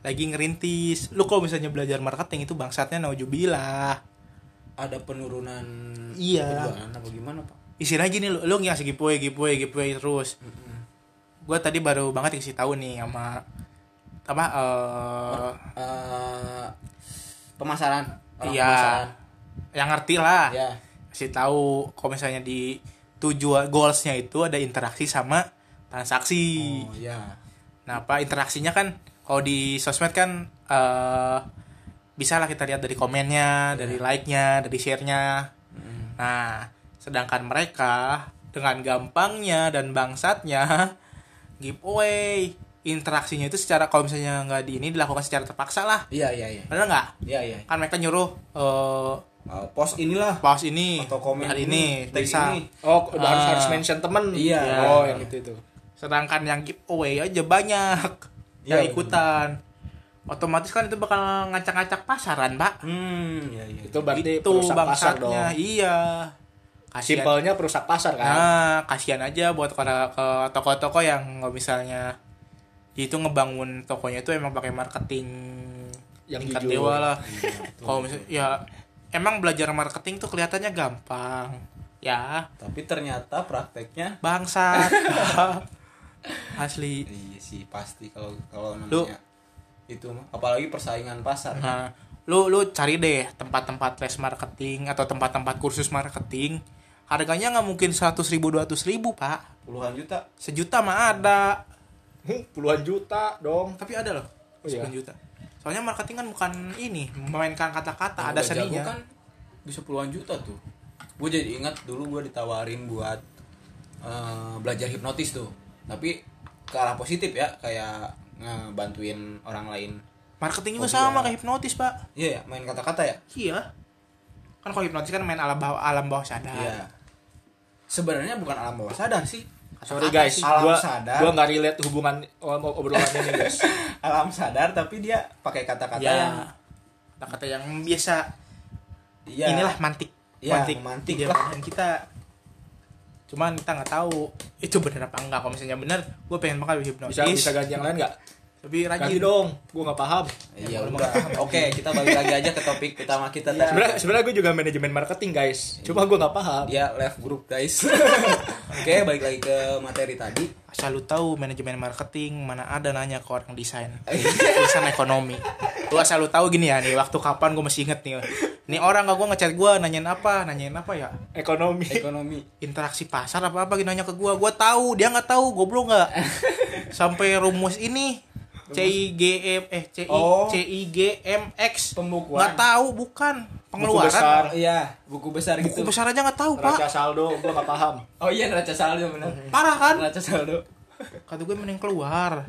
S2: lagi ngerintis lu kalau misalnya belajar marketing itu bangsatnya naujubillah
S3: ada penurunan
S2: Iya.
S3: penjualan apa gimana pak
S2: isinya gini lu lu ngasih giveaway giveaway giveaway terus gue tadi baru banget dikasih tahu nih sama apa eh
S3: Eh, pemasaran orang
S2: iya
S3: pemasaran
S2: yang ngerti lah
S3: ya
S2: kasih tahu kalau misalnya di tujuan goalsnya itu ada interaksi sama transaksi
S3: oh ya
S2: Nah, apa interaksinya kan kalau di sosmed kan eh bisa lah kita lihat dari komennya, dari
S3: Iya.
S2: like-nya, dari share-nya.
S3: Hmm.
S2: Nah, sedangkan mereka dengan gampangnya dan bangsatnya <laughs> giveaway interaksinya itu secara kalau misalnya nggak di ini dilakukan secara terpaksa lah
S3: iya iya iya
S2: bener nggak
S3: iya iya
S2: kan mereka nyuruh eh
S3: Eh, post inilah
S2: pos ini
S3: atau komen
S2: hari ini
S3: tag
S2: bisa
S3: ini.
S4: Oh, udah harus,
S2: Ah.
S4: harus mention temen.
S3: Iya.
S4: Oh, yang itu itu.
S2: sedangkan yang giveaway aja banyak
S3: Iya,
S2: yang ikutan otomatis kan itu bakal ngacak-ngacak pasaran pak
S3: hmm iya iya
S4: Itu berarti
S2: itu
S4: perusak pasar dong.
S2: bangsatnya iya kasihan
S4: Simpelnya perusak pasar kan.
S2: nah kasihan aja buat ke ke toko-toko yang nggak misalnya dia itu ngebangun tokonya itu emang pakai marketing
S4: Yang
S2: tingkat
S4: jujur.
S2: dewa lah kalau misalnya ya emang belajar marketing tuh kelihatannya gampang ya
S3: tapi ternyata prakteknya
S4: <laughs>
S2: bangsat asli
S3: iya sih pasti kalau kalau namanya
S2: Lu-
S3: itu mah apalagi persaingan pasar
S2: Nah, lu lu cari deh tempat-tempat les marketing atau tempat-tempat kursus marketing. Harganya nggak mungkin 100 ribu, 200 ribu, Pak.
S3: puluhan juta
S2: Sejuta mah ada.
S4: Hmm, Puluhan juta dong.
S2: Tapi ada loh,
S4: Oh, iya.
S2: 10 juta. Soalnya marketing kan bukan ini, memainkan kata-kata, ada
S3: Udah jago
S2: seninya.
S3: kan bisa puluhan juta tuh gue jadi ingat dulu gue ditawarin buat eh, belajar hipnotis tuh tapi ke arah positif ya kayak ngebantuin orang lain
S2: Marketing juga
S3: Oh,
S2: sama
S3: iya.
S2: kayak hipnotis, Pak.
S3: iya ya main kata-kata ya
S2: Iya. Kan kalau hipnotis kan main alam bawah, alam bawah sadar.
S3: iya sebenarnya bukan alam bawah sadar sih
S4: Sorry guys,
S3: Alam
S4: gua
S3: sadar.
S4: gua nggak relate hubungan ob- obrolan ini guys.
S3: alam sadar tapi dia pakai kata-kata
S2: Ya.
S3: yang
S2: Kata-kata yang biasa
S3: iya
S2: inilah mantik
S3: Iya,
S2: mantik
S3: mantik
S2: Iya,
S3: lah.
S2: dan kita cuman kita nggak tahu itu bener apa enggak kalau misalnya bener gue pengen makan hipnotis
S4: Bisa bisa ganti yang lain nggak?
S2: tapi
S4: Ganti
S2: rajin
S4: dong. Gua nggak paham.
S3: iya
S2: Emang
S3: udah oke kita balik lagi aja ke topik utama kita tadi
S4: Sebenarnya sebenarnya gua juga manajemen marketing guys. Cuma gua nggak paham.
S3: dia left group <laughs> guys oke balik lagi ke materi tadi
S2: asal lu tahu manajemen marketing mana ada nanya ke orang desain urusan ekonomi lu asal lu tahu gini ya nih waktu kapan gue masih inget nih nih orang gak gue ngechat gue nanyain apa nanyain apa ya
S4: Ekonomi.
S3: ekonomi
S2: interaksi pasar apa apa gitu nanya ke gua gua tahu dia nggak tahu goblok
S3: <laughs>
S2: nggak sampai rumus ini C I G M eh C I
S3: Oh.
S2: C I G M X
S3: Pembukuan.
S2: nggak tahu bukan pengeluaran buku
S4: besar.
S2: besar,
S3: iya buku besar gitu
S2: aja nggak tahu
S4: Raca
S2: pak
S4: saldo gua nggak paham.
S3: oh iya neraca saldo benar
S2: parah kan
S3: neraca saldo
S2: kata gue mending keluar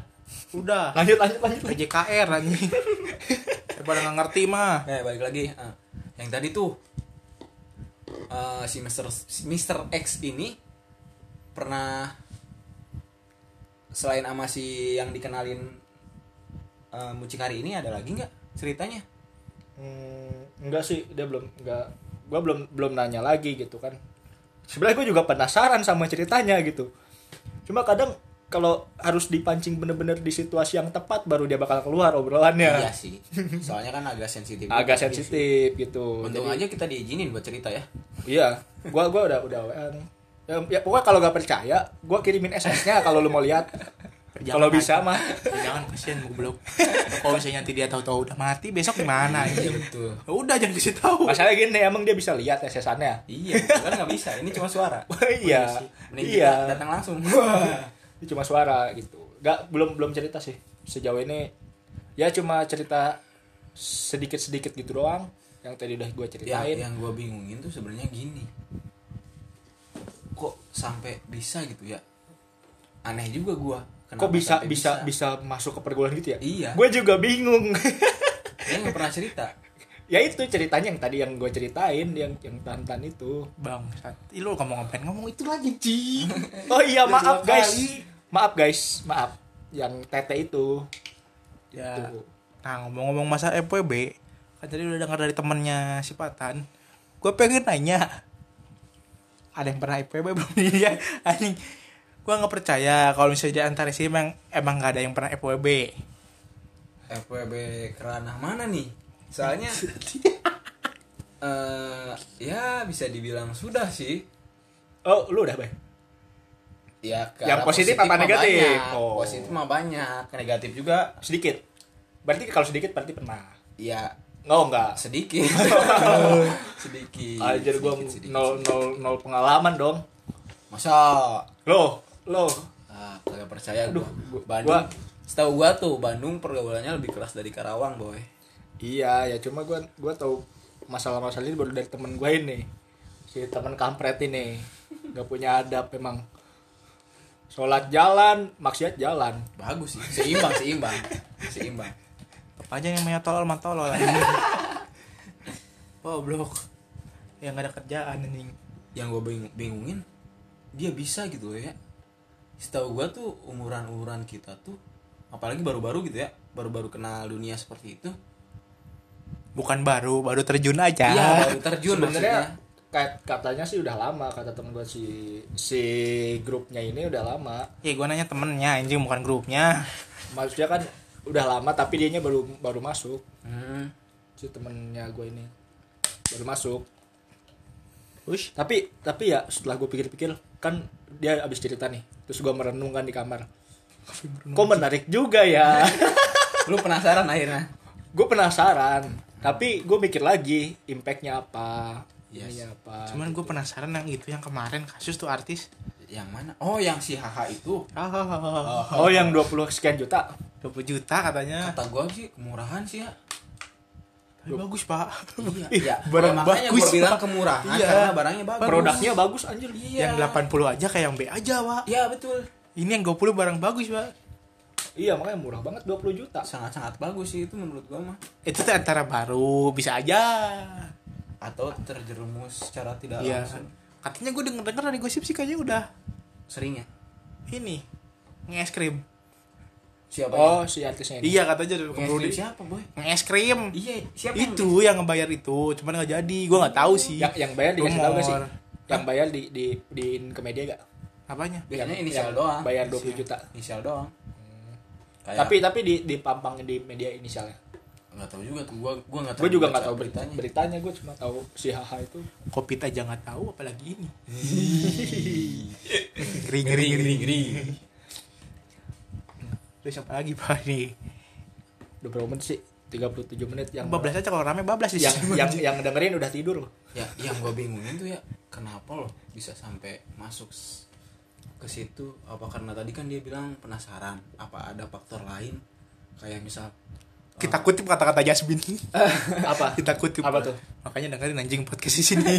S2: udah
S4: Lanjut lanjut lanjut.
S2: PJKR
S3: <laughs>
S2: anjing daripada nggak ngerti mah
S3: nah balik lagi Ah, yang tadi tuh eh, si Mister si Mister X ini pernah selain sama si yang dikenalin eh, mucikari ini ada lagi nggak ceritanya
S4: Hmm, enggak sih, dia belum enggak gua belum belum nanya lagi gitu kan. Sebenarnya gue juga penasaran sama ceritanya gitu. Cuma kadang kalau harus dipancing bener-bener di situasi yang tepat baru dia bakal keluar
S3: iya
S4: obrolannya.
S3: sih soalnya kan agak sensitif
S4: Agak sensitif gitu.
S3: untung
S4: Jadi-
S3: aja kita diizinin buat cerita ya
S4: Iya, gua gua udah udah WA nih. Ya, ya, pokoknya kalau gak percaya, gua kirimin SS-nya kalau lu
S3: <laughs>
S4: mau lihat.
S2: Jangan
S4: kalau bisa mah.
S2: Ya jangan kasihan goblok kalau misalnya nanti dia tahu-tahu udah mati besok gimana
S3: iya
S2: anjing?
S3: betul
S2: Ya udah jangan kasih
S4: <laughs>
S2: tahu
S4: Masalahnya gini, emang dia bisa lihat SS-annya.
S3: iya kan nggak bisa ini cuma suara
S4: iya.
S3: Oh, Mending kita
S4: Iya.
S3: datang langsung <laughs>
S4: Ini cuma suara gitu nggak belum belum cerita sih sejauh ini ya cuma cerita sedikit sedikit gitu doang yang tadi udah gue
S3: ya
S4: ceritain
S3: yang gue bingungin tuh sebenarnya gini kok sampai bisa gitu ya aneh juga gue
S4: kok bisa bisa bisa masuk ke pergaulan gitu ya
S3: Iya.
S4: gue juga bingung <laughs>
S3: dia nggak pernah cerita
S4: ya itu ceritanya yang tadi yang gue ceritain yang yang tantan itu
S2: bang saat Ih, lu ngomong ngapain ngomong itu lagi Ci
S4: oh iya
S2: Udah
S4: maaf
S2: dua
S4: guys
S2: kali.
S4: maaf guys maaf yang tete itu
S2: ya
S4: Tuh.
S2: nah ngomong-ngomong masa FWB kan tadi udah dengar dari temennya si Patan gue pengen nanya ada yang pernah FWB belum <laughs> nih dia anjing gue nggak percaya kalau misalnya di antara sih emang emang gak ada yang pernah FWB
S3: FWB kerana mana nih?
S4: <laughs>
S3: Soalnya eh ya bisa dibilang sudah sih.
S4: Oh, lu udah, Bay?
S3: Ya ke
S4: Yang
S3: arah
S4: positif apa
S3: mah
S4: negatif?
S3: banyak.
S4: Oh.
S3: Positif mah banyak, negatif juga
S4: Sedikit. Berarti kalau sedikit berarti pernah.
S3: ya
S4: Oh, enggak. <laughs>
S3: sedikit. sedikit.
S4: Ajar gua
S3: sedikit, sedikit,
S4: nol,
S3: sedikit.
S4: nol, nol pengalaman dong.
S3: Masa
S4: Loh, loh.
S3: ah, kagak percaya
S4: Aduh,
S3: gua.
S4: gua-
S3: Bandung.
S4: gua-
S3: Setahu gua tuh Bandung pergaulannya lebih keras dari Karawang, boy.
S4: Iya, ya cuma gua gua tahu masalah-masalah ini baru dari temen gua ini. Si temen kampret ini. Gak punya adab memang. Sholat jalan, maksiat jalan.
S3: Bagus sih, seimbang, seimbang. Seimbang.
S2: Apa aja yang punya tolol mah tolol Wow blok Yang gak ada kerjaan anjing
S3: yang gue bingung, bingungin dia bisa gitu loh ya setahu gue tuh umuran umuran kita tuh apalagi baru-baru gitu ya baru-baru kenal dunia seperti itu
S2: Bukan baru, baru terjun aja
S3: iya baru terjun
S4: Ya. Sebenarnya
S3: maksudnya
S4: kat- katanya sih udah lama kata temen gua si si grupnya ini udah lama.
S2: Eh gue nanya temennya anjing bukan grupnya
S4: Maksudnya kan udah lama tapi dianya baru baru masuk.
S3: hmm,
S4: Si temennya gua ini baru masuk.
S2: Ush
S4: tapi tapi ya setelah gue pikir-pikir kan dia abis cerita nih terus gue merenung kan di kamar kok menarik juga ya <laughs>
S3: lu penasaran akhirnya
S4: gue penasaran tapi gue mikir lagi impactnya apa
S3: Yes.
S4: ininya apa
S2: Cuman gue penasaran yang itu yang kemarin kasus tuh artis
S3: yang mana oh yang si haha itu
S2: oh,
S4: oh yang 20 sekian juta
S2: 20 juta katanya
S3: kata gue sih kemurahan sih ya
S2: Tapi bagus pak
S3: iya
S2: barang
S3: ya, makanya
S2: bagus,
S3: gue bilang
S2: Pak.
S3: kemurahan
S2: Iya.
S3: karena barangnya bagus
S4: produknya bagus anjir
S3: iya
S2: Yang 80 aja kayak yang B aja pak
S3: iya betul
S2: Ini yang 20 barang bagus pak
S4: iya makanya murah banget 20 juta
S3: sangat-sangat bagus sih itu menurut gue mah
S2: Itu tuh antara baru bisa aja
S3: atau terjerumus secara tidak
S2: Iya
S3: langsung
S2: Katanya gue denger-denger dari gosip sih kayaknya udah
S3: sering ya
S2: Ini Nge-es krim
S3: siapa
S4: oh si artisnya ini
S2: Iya katanya udah
S3: yang
S2: keburu
S3: Nge-screen
S2: di-
S3: siapa boy
S2: Nge-es krim
S3: Iya, siapa yang-
S2: Itu yang ngebayar itu Cuman gak jadi Gue gak tahu sih
S4: yang, yang bayar dikasih tau gak sih
S2: Rumor.
S4: yang bayar di di diin ke media gak
S2: Apanya?
S3: Biasanya
S4: Yang-
S3: inisial
S4: yang
S3: doang.
S4: bayar 20 juta
S3: Inisial doang. Hmm. Kayak-
S4: tapi tapi di dipampangin di media inisialnya
S3: nggak tahu juga tuh gua gua nggak tahu.
S4: gue juga
S3: baca
S4: nggak tahu beritanya
S3: beritanya.
S4: beritanya gue cuma tahu si haha itu
S2: Covid aja nggak tahu apalagi
S4: <laughs>
S2: ini. ngeri ngeri ngeri. Terus apa lagi Pak ini?
S4: udah berapa menit sih 37 menit yang
S2: Bablas aja kalau rame bablas di
S4: yang
S2: <laughs> sini.
S4: yang yang dengerin udah tidur
S2: <laughs>
S4: loh
S3: Ya, yang gua bingungin tuh ya kenapa loh bisa sampai masuk s- ke situ? Apa karena tadi kan dia bilang penasaran? Apa ada faktor lain? Kayak misal
S2: Kita kutip kata-kata Jasmine.
S4: apa
S2: Kita kutip.
S4: Apa tuh?
S2: Makanya dengerin anjing podcast di
S4: <laughs>
S2: sini.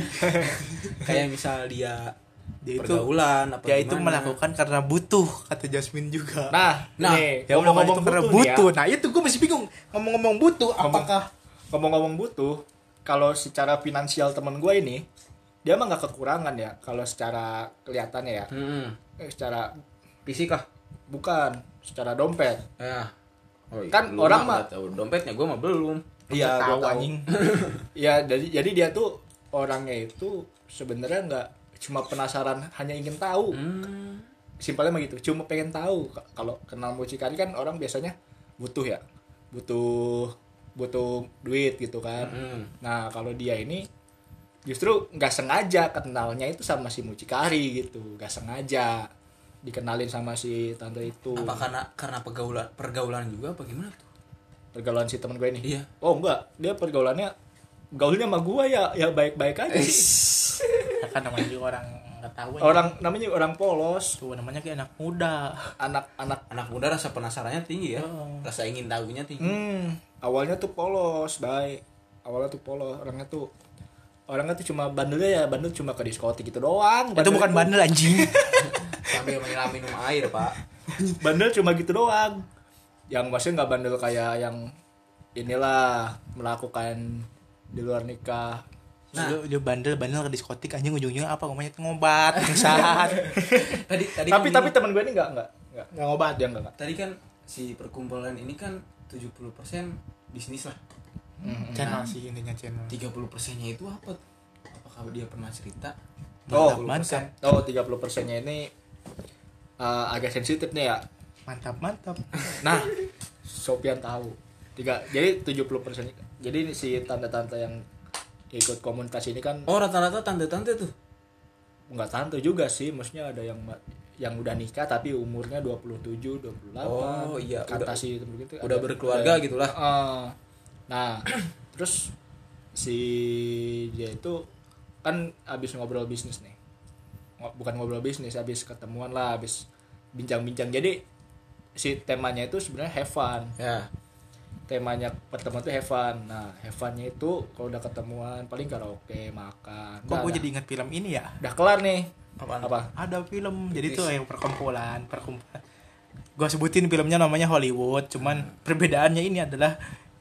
S3: kayak misal dia,
S2: Dia itu-
S3: pergaulan apa
S2: Dia Ya, itu
S3: gimana.
S2: melakukan karena butuh kata Jasmine juga.
S4: nah
S3: Nah,
S4: nih,
S2: ya ngomong-ngomong karena
S4: butuh, nih ya.
S2: butuh. Nah, itu gue masih bingung. Ngomong-ngomong butuh apakah
S4: ngomong-ngomong butuh kalau secara finansial teman gue ini dia mah nggak kekurangan ya kalau secara kelihatannya ya
S3: Mm-mm.
S4: eh, secara
S3: Fisik lah.
S4: bukan secara dompet
S3: Ya. Oh, iya.
S4: Kan
S3: Lu
S4: orang mah-
S3: nggak tahu dompetnya gua mah belum.
S4: iya
S2: tahu
S4: gue tahu <laughs>
S2: anjing.
S4: Iya, jadi jadi dia tuh orangnya itu sebenarnya nggak cuma penasaran, hanya ingin tahu.
S3: Hmm.
S4: Simpelnya mah gitu, cuma pengen tahu. K- Kalau kenal mucikari kan orang biasanya butuh ya, butuh butuh duit gitu kan.
S3: Hmm.
S4: Nah kalau dia ini justru nggak sengaja kenalnya itu sama si mucikari gitu, nggak sengaja dikenalin sama si tante itu.
S3: apa karena karena pergaulan pergaulan juga apa gimana tuh
S4: Pergaulan si teman gue ini.
S3: iya
S4: Oh enggak, dia pergaulannya gaulnya sama gua ya ya baik-baik aja sih.
S2: Ya kan namanya juga orang nggak tahu. ya.
S4: orang namanya orang polos
S2: tuh namanya kayak anak muda.
S4: anak-anak
S3: anak muda rasa penasarannya tinggi ya
S2: Oh.
S3: rasa ingin tahunya tinggi
S4: hmm, awalnya tuh polos baik awalnya tuh polos orangnya tuh orangnya tuh cuma bandelnya ya bandel cuma ke diskotik gitu doang
S2: Itu bukan bandel
S4: <laughs>
S2: anjing.
S3: sambil menyelam minum air pak
S4: bandel cuma gitu doang yang maksudnya nggak bandel kayak yang inilah melakukan di luar nikah
S2: Nah, lu, lu bandel bandel ke diskotik anjing ujung-ujungnya apa ngomongnya itu ngobat,
S4: <laughs>
S2: pingsan.
S3: tadi tadi
S4: tapi
S3: kan
S4: tapi
S3: gini,
S4: teman gue ini nggak nggak nggak nggak ngobat dia nggak nggak
S3: tadi kan si perkumpulan ini kan 70% bisnis lah
S2: channel sih intinya channel.
S3: 30 persennya itu apa tuh? apakah dia pernah cerita
S4: Oh,
S3: 30%.
S2: mantap.
S4: oh 30 persennya ini eh, agak sensitif nih ya
S2: Mantap, mantap.
S4: nah Sopian tahu tiga jadi 70 persen jadi ini si tanda-tanda yang ikut komunitas ini kan
S3: Oh rata-rata tante-tante tuh.
S4: nggak tante juga sih maksudnya ada yang ma- yang udah nikah tapi umurnya 27 28
S3: Oh, iya,
S4: kata
S3: udah-
S4: si temen gitu
S3: udah berkeluarga gitu lah.
S4: Heeh. nah <clears throat> terus si dia itu kan abis ngobrol bisnis nih Ngo- bukan ngobrol bisnis abis ketemuan lah abis bincang-bincang jadi si temanya itu sebenarnya have fun
S3: Ya.
S4: temanya pertemuan itu have fun nah have funnya itu kalau udah ketemuan paling karaoke makan
S2: Kok
S4: Udah,
S2: gue
S4: dah.
S2: jadi inget film ini ya?
S4: udah kelar nih
S3: Apaan?
S4: apa
S2: Ada film, jadi tuh yang perkumpulan, perkumpulan. Gue sebutin filmnya namanya Hollywood, cuman perbedaannya ini adalah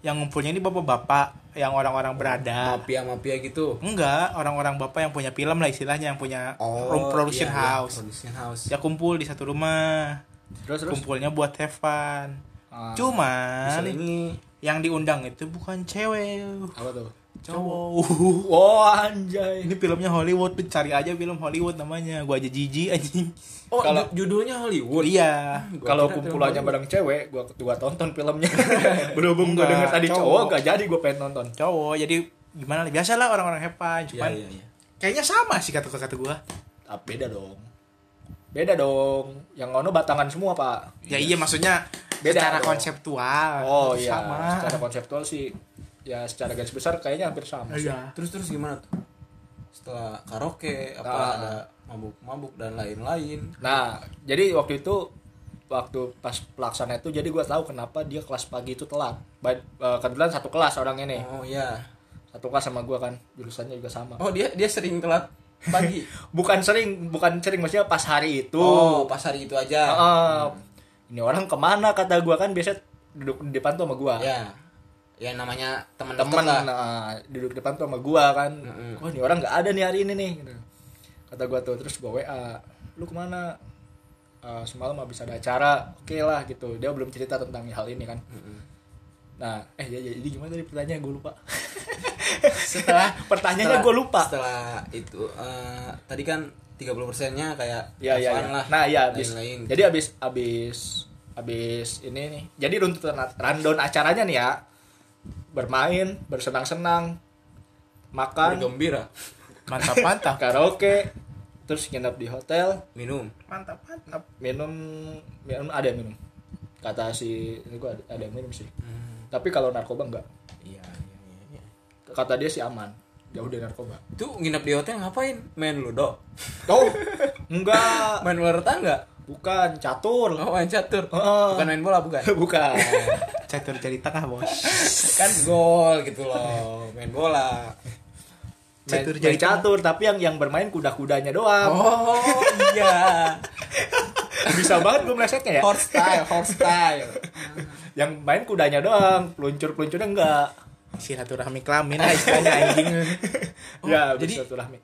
S2: yang ngumpulnya ini bapak-bapak, yang orang-orang berada.
S3: Mafia-mafia gitu.
S2: Enggak, orang-orang bapak yang punya film lah istilahnya, yang punya room Oh, production
S3: iya, iya,
S2: house.
S3: Production house.
S2: Ya kumpul di satu rumah,
S4: terus terus
S2: kumpulnya buat have fun.
S4: Ah,
S2: Cuman
S3: Diselingi.
S2: yang diundang itu bukan cewek,
S4: apa tuh
S2: cowok.
S4: oh anjay
S2: <laughs> Ini filmnya Hollywood, tuh cari aja film Hollywood namanya. Gua aja jijik anjing.
S3: Oh,
S4: Kalau-
S3: ju- judulnya Hollywood.
S2: Iya.
S3: Gua
S4: kalau
S3: kira
S4: kumpulannya
S3: film
S4: bareng cewek gua gua tonton filmnya berhubung gua
S2: Enggak,
S4: denger tadi cowok
S2: cowok.
S4: gak jadi gua pengen nonton
S2: Cowok, jadi gimana nih? Biasalah orang-orang hepan,
S3: Iya,
S2: cuman
S3: iya, iya.
S2: kayaknya sama sih kata-kata gua.
S4: ah, beda dong beda dong yang ono batangan semua pak
S2: Ya iya maksudnya
S4: Beda
S2: secara
S4: dong.
S2: konseptual
S4: oh iya
S2: sama.
S4: secara konseptual sih ya secara garis besar kayaknya hampir sama sih.
S2: Iya.
S3: Terus terus gimana tuh? Setelah karaoke apa
S4: Nah.
S3: ada mabuk-mabuk dan lain-lain.
S4: Nah, jadi waktu itu waktu pas pelaksana itu jadi gua tahu kenapa dia kelas pagi itu telat. Ba- eh, kebetulan satu kelas orang ini.
S3: Oh iya.
S4: Satu kelas sama gua kan, jurusannya juga sama.
S3: Oh dia dia sering telat pagi.
S4: Bukan sering, bukan sering maksudnya pas hari itu.
S3: oh, pas hari itu aja.
S4: Heeh. Ini orang kemana kata gua kan biasa duduk di depan tuh sama gua.
S3: Ya. Ya namanya teman
S4: temen
S3: lah.
S4: nah, duduk depan tuh sama gua kan
S3: Mm-mm.
S4: wah ini orang nggak ada nih hari ini nih gitu. kata gua tuh terus gua wa lu kemana "Eh, semalam habis ada acara oke lah gitu dia belum cerita tentang hal ini kan nah eh ya, jadi gimana tadi pertanyaan gua lupa <laughs>
S3: Setelah
S4: pertanyaannya
S3: setelah-
S4: gua lupa
S3: Setelah itu eh, tadi kan 30 persennya kayak
S4: ya ya,
S3: apaan
S4: ya.
S3: lah,
S4: nah ya habis
S3: lain-lain.
S4: jadi habis habis habis ini nih jadi runtutan rundown acaranya nih ya bermain bersenang-senang makan
S3: gembira
S2: Mantap mantap.
S4: <laughs> karaoke terus nginep di hotel
S3: minum.
S2: mantap mantap.
S4: minum minum ada yang minum kata si ini gua ada, ada yang minum sih tapi kalau narkoba enggak
S3: Hmm, Iya, iya, iya, iya.
S4: kata dia sih aman jauh dari narkoba
S3: Itu nginep di hotel ngapain? Main ludo. <laughs>
S4: oh enggak
S3: Main ular tangga.
S4: bukan catur
S3: Oh, main catur.
S4: Oh.
S3: Bukan main bola bukan.
S4: <laughs>
S3: <laughs>
S4: bukan
S2: Catur jari tengah, Bos.
S3: kan gol gitu loh, main bola.
S4: catur
S2: Catur
S4: jadi
S2: jari tengah.
S4: catur tapi yang yang bermain kuda-kudanya doang
S3: Oh iya.
S4: bisa banget gue melesetnya <laughs> ya
S3: Horse style, horse style.
S4: yang main kudanya doang peluncur peluncurnya enggak
S2: Silaturahmi kelamin lah istilahnya anjing.
S3: Oh,
S4: ya
S3: jadi-
S4: jadi silaturahmi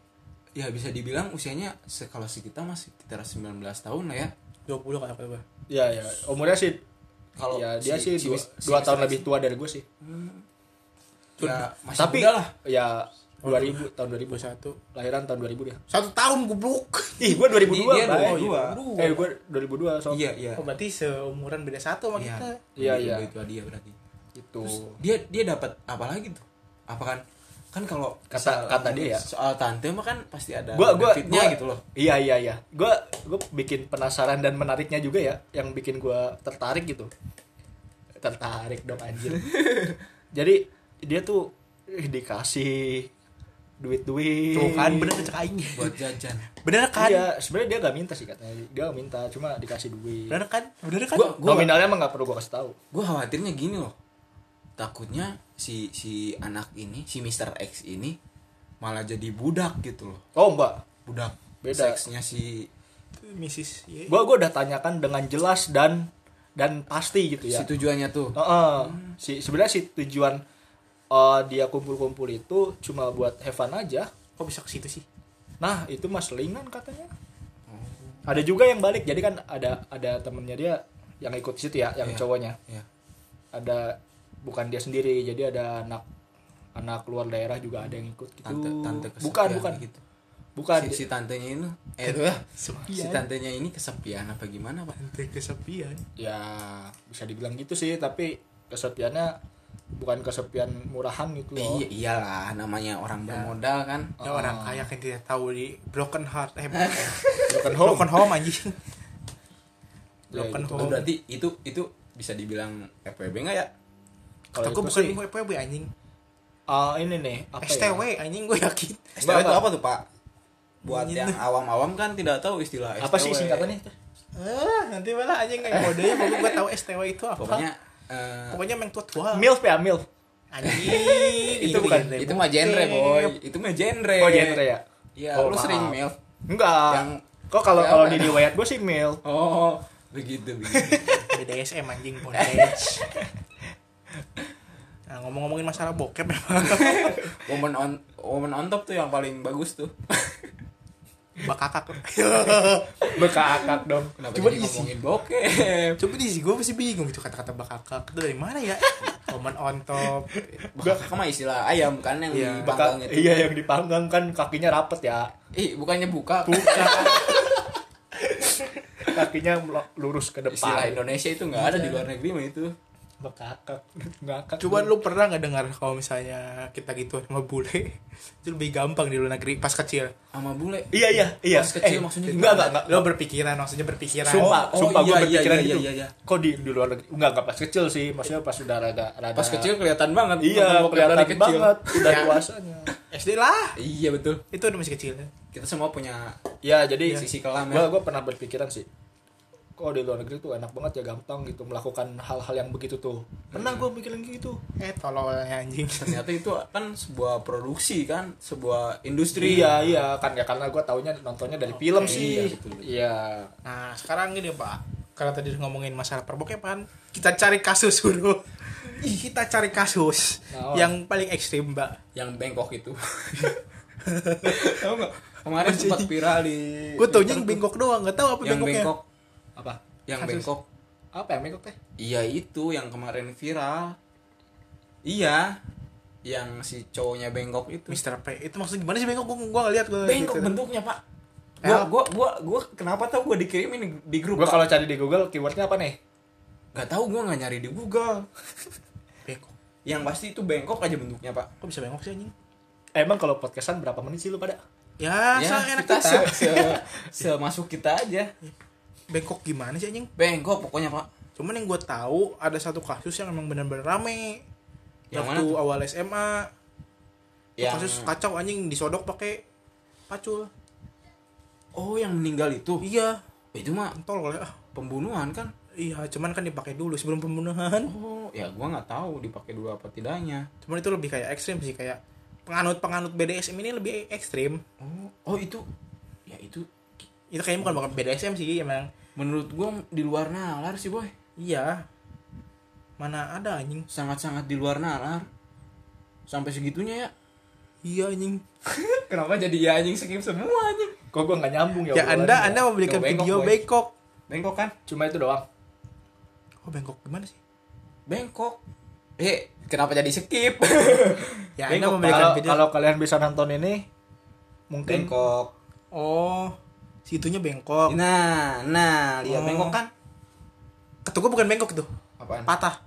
S3: Ya bisa dibilang usianya se- kalau si kita masih sekitar 19 tahun lah ya.
S2: 20 kata gua.
S4: ya ya umurnya sih
S3: Kalau
S4: ya dia
S3: si- si-
S4: sih dua,
S3: si-
S4: dua
S3: si-
S4: tahun
S3: si-
S4: lebih tua dari gue sih
S3: Ya, masih
S4: tapi
S3: muda lah.
S4: ya
S3: Oh, iya.
S4: 2000 tahun
S2: 21.
S4: 2000 lahiran tahun 2000 dia Iya,
S2: Satu tahun goblok.
S4: ih gue 2002
S3: Dia- dia
S4: Bay.
S3: 2002.
S4: eh gue 2002 soalnya
S3: Oh, Iya, iya.
S2: Oh, berarti seumuran beda satu sama
S3: Iya,
S2: kita.
S4: Iya,
S3: lebih-
S4: iya.
S3: lebih tua dia berarti.
S4: gitu
S3: Dia dia dapat apa lagi tuh? Apa kan kan kalau
S4: Kata-
S3: misal-
S4: kata dia ya.
S3: soal tante mah kan pasti ada
S4: gue gue
S3: benefitnya gitu loh.
S4: iya iya iya gue gue bikin penasaran dan menariknya juga ya yang bikin gue tertarik gitu tertarik dong
S2: <laughs>
S4: anjir jadi dia tuh eh, dikasih duit duit
S2: Tuh kan bener kecek aing.
S3: Buat jajan.
S2: Bener kan?
S4: iya sebenarnya dia gak minta sih katanya dia gak minta cuma dikasih duit
S2: Bener kan? Bener kan?
S3: Gua-
S4: nominalnya emang gak perlu gue kasih tahu
S3: gue khawatirnya gini loh takutnya si si anak ini si Mr. X ini malah jadi budak gitu loh
S4: oh enggak
S3: budak
S4: Beda.
S3: seksnya si
S2: Mrs. Ye.
S4: gua gua udah tanyakan dengan jelas dan dan pasti gitu ya
S3: si tujuannya tuh
S4: Heeh.
S2: Hmm.
S4: si sebenarnya si tujuan eh, dia kumpul-kumpul itu cuma buat have fun aja
S2: Kok bisa ke situ sih?
S4: nah itu mas selingan katanya
S3: Oh.
S4: ada juga yang balik jadi kan ada ada temennya dia yang ikut situ ya yang
S3: Iya.
S4: cowoknya
S3: ya
S4: ada bukan dia sendiri jadi ada anak anak luar daerah juga ada yang ikut gitu
S3: tante tante kesepian
S4: bukan bukan
S3: gitu
S4: bukan
S3: si, si tantenya ini eh tuh si
S2: Sepian.
S3: tantenya ini kesepian apa
S4: Oh.
S3: gimana pak
S2: Nanti kesepian.
S4: ya bisa dibilang gitu sih tapi kesepiannya bukan kesepian murahan gitu loh
S3: Iya, iyalah namanya
S4: Iya.
S3: orang bermodal kan.
S2: Ya orang
S4: Oh.
S2: kaya kan tidak tahu di broken heart
S4: <laughs>
S2: eh
S4: broken home
S2: broken home anjing.
S4: Ya,
S2: Broken
S4: gitu.
S3: Oh,
S2: home.
S3: berarti itu itu bisa dibilang FPB nggak ya?
S4: Kalau
S2: Kata gue
S4: itu
S2: bukan
S4: sih-
S2: bingung FWB anjing.
S4: Ah, ini nih apa ya?
S2: STW anjing gue yakin.
S3: STW
S4: Nggak,
S3: itu
S4: Pak.
S3: apa tuh Pak? Buat
S2: Ini.
S3: yang awam-awam kan tidak tahu istilah STW.
S4: apa sih singkatannya
S2: Ah, nanti malah anjing kayak kodenya baru gue tahu STW itu apa.
S3: Pokoknya eh,
S2: pokoknya meng tua tua.
S4: milf ya milf
S2: Anjing. gitu,
S4: Itu bukan-
S3: itu mah genre boy, itu mah genre.
S4: oh genre ya
S3: Iya,
S4: Oh,
S3: lu
S4: maaf.
S3: sering milf.
S4: enggak
S3: Yang-
S4: kok kalau
S3: yang
S4: kalau
S3: apa?
S4: di riwayat gue sih milf
S3: Oh, begitu begitu.
S2: BDSM anjing
S4: <laughs>
S2: bondage. Nah, ngomong-ngomongin masalah bokep <laughs> memang
S3: woman on woman on top tuh yang paling bagus tuh.
S2: bakakak.
S4: <laughs> bekakak dong
S3: Kenapa
S2: Coba
S3: jadi
S2: diisi.
S3: ngomongin bokep?
S2: Coba di sini gue masih bingung gitu kata-kata bakakak itu dari mana ya? <laughs> Komen on top.
S3: Bakak mah istilah ayam kan yang
S2: Iya.
S3: dipanggang
S4: Baka,
S3: itu.
S4: iya yang dipanggang kan kakinya rapet ya
S3: Ih, bukannya buka.
S4: kakinya mel- lurus ke
S3: Istilah
S4: depan
S3: Indonesia itu nggak ada di luar negeri mah itu.
S4: bekakak ngakak
S2: Cuman lu pernah nggak dengar kalau misalnya kita gitu sama bule itu lebih gampang di luar negeri pas kecil.
S3: Sama bule.
S4: iya iya iya
S3: Pas kecil maksudnya
S4: enggak
S3: gimana?
S4: enggak enggak
S2: Lo berpikiran maksudnya berpikiran.
S4: sumpah
S3: oh,
S4: sumpah gue
S3: iya, iya,
S4: berpikiran
S3: iya,
S4: gitu
S3: iya, iya.
S4: kok di di luar negeri enggak enggak pas kecil sih maksudnya pas sudah rada rada
S3: Pas kecil kelihatan banget.
S4: iya
S3: nonton bokep
S4: kelihatan
S3: dari kecil. Ya.
S4: banget udah
S2: Iya.
S4: dewasanya
S2: SD lah.
S3: Iya betul.
S2: Itu udah masih kecil.
S3: Kita semua punya
S4: ya jadi
S3: sisi kelam
S4: gue
S3: ya.
S4: gue pernah berpikiran sih kok di luar negeri tuh enak banget ya gampang gitu melakukan hal-hal yang begitu tuh pernah gue mikirin gitu
S2: Eh tololnya anjing.
S3: Ternyata itu kan sebuah produksi kan, sebuah industri.
S4: Iya iya kan ya karena gue taunya nontonnya dari film
S3: Oke,
S4: sih.
S3: iya, betul, betul.
S4: Iya.
S2: Nah sekarang gini pak. Kalau tadi ngomongin masalah perbokepan, kita cari kasus dulu. Ih, kita cari kasus
S4: Nah, oh.
S2: yang paling ekstrim mbak.
S3: Yang bengkok itu. Tahu nggak? Kemarin sempat viral di.
S2: Gue taunya
S3: Twitter
S2: yang
S3: tuh.
S2: bengkok doang, nggak tahu apa
S3: Yang
S2: bengkoknya.
S3: bengkok.
S4: Apa?
S3: Yang
S2: Kasus.
S3: bengkok.
S4: Apa ya makeup teh?
S3: Iya itu yang kemarin viral. Iya. Yang si cowoknya bengkok itu.
S2: Mister P itu maksudnya gimana sih bengkok? Gue gue ngeliat gue.
S3: Bengkok bentuknya pak. Gua, gua, gua, gua kenapa tau gua dikirimin di grup
S4: Gue
S3: Pak?
S4: kalau cari di Google keywordnya apa nih?
S3: Gak tau gua gak nyari di Google
S2: Bengkok.
S3: Yang pasti itu bengkok aja bentuknya pak
S2: Kok bisa bengkok sih anjing?
S4: Emang kalau podcastan berapa menit sih lu pada?
S2: Ya, ya enak kita.
S3: kita se, se- semasuk kita aja
S2: Bengkok gimana sih anjing?
S3: Bengkok pokoknya pak
S2: Cuman yang gue tahu ada satu kasus yang emang benar-benar rame.
S3: Yang
S2: Waktu
S3: mana tuh?
S2: awal SMA, Tuh
S3: Yang-
S2: kasus kacau anjing disodok pakai pacul.
S3: Oh yang meninggal itu
S2: Iya,
S3: Itu mah
S2: entol kali ah.
S3: pembunuhan kan
S2: Iya, cuman kan dipakai dulu sebelum pembunuhan.
S3: Oh ya gua nggak tahu dipakai dulu apa tidaknya
S2: Cuman itu lebih kayak ekstrim sih kayak penganut-penganut BDSM ini lebih ekstrim.
S3: Oh, oh itu Ya itu
S2: Itu kayaknya bukan bukan BDSM sih emang.
S3: Menurut gua di luar nalar sih boy
S2: Iya. Mana ada anjing?
S3: Sangat-sangat di luar nalar Sampai segitunya ya
S2: Iya anjing.
S3: <laughs> Kenapa jadi ya anjing skip semua anjing
S4: Kok gue nggak nyambung ya?
S2: Ya,
S4: obrolannya
S2: Anda
S4: ya?
S2: Anda membelikan
S3: Yo, bengkok,
S2: video
S3: boy.
S2: bengkok.
S3: Bengkok kan
S4: Cuma itu doang.
S2: Oh, bengkok gimana sih?
S3: Bengkok. Eh, kenapa jadi skip?
S2: Ya, Anda
S3: Bengkok,
S2: membelikan
S4: Kalau
S2: video.
S4: kalau kalian bisa nonton ini mungkin
S3: bengkok.
S2: Oh, situnya bengkok.
S3: Nah, nah, lihat
S2: Oh.
S3: bengkok kan?
S2: Kata gua bukan bengkok tuh.
S3: Apaan?
S2: Patah.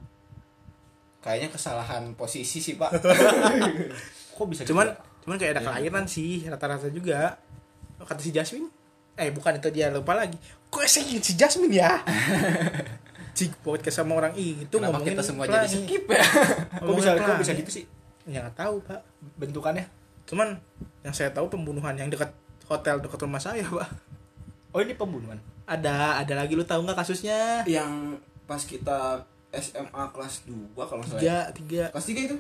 S3: Kayaknya kesalahan posisi sih, Pak.
S4: kok
S3: Iya.
S4: bisa
S2: Cuman
S4: gitu ya?
S2: cuman kayak ada kelainan sih rata-rata juga. Oh, Kata si Jasmine. Eh, bukan itu dia lupa lagi. Kok saya ingat si Jasmine ya? Cik, podcast sama orang itu
S3: kenapa
S2: ngomongin
S3: kita semua
S2: pelangi.
S3: jadi skip <laughs> ya?
S4: kok
S2: Ngomongin
S4: bisa kok
S2: pelangi.
S4: bisa gitu sih
S2: Ya nggak tahu, Pak.
S4: bentukannya?
S2: Cuman yang saya tahu pembunuhan yang dekat hotel dekat rumah saya, <laughs> Pak.
S4: Oh ini pembunuhan.
S2: Ada, ada lagi lu tahu nggak kasusnya?
S3: Yang pas kita SMA kelas 2 kalau nggak salah. ya.
S2: Tiga, tiga.
S3: Kelas 3 itu?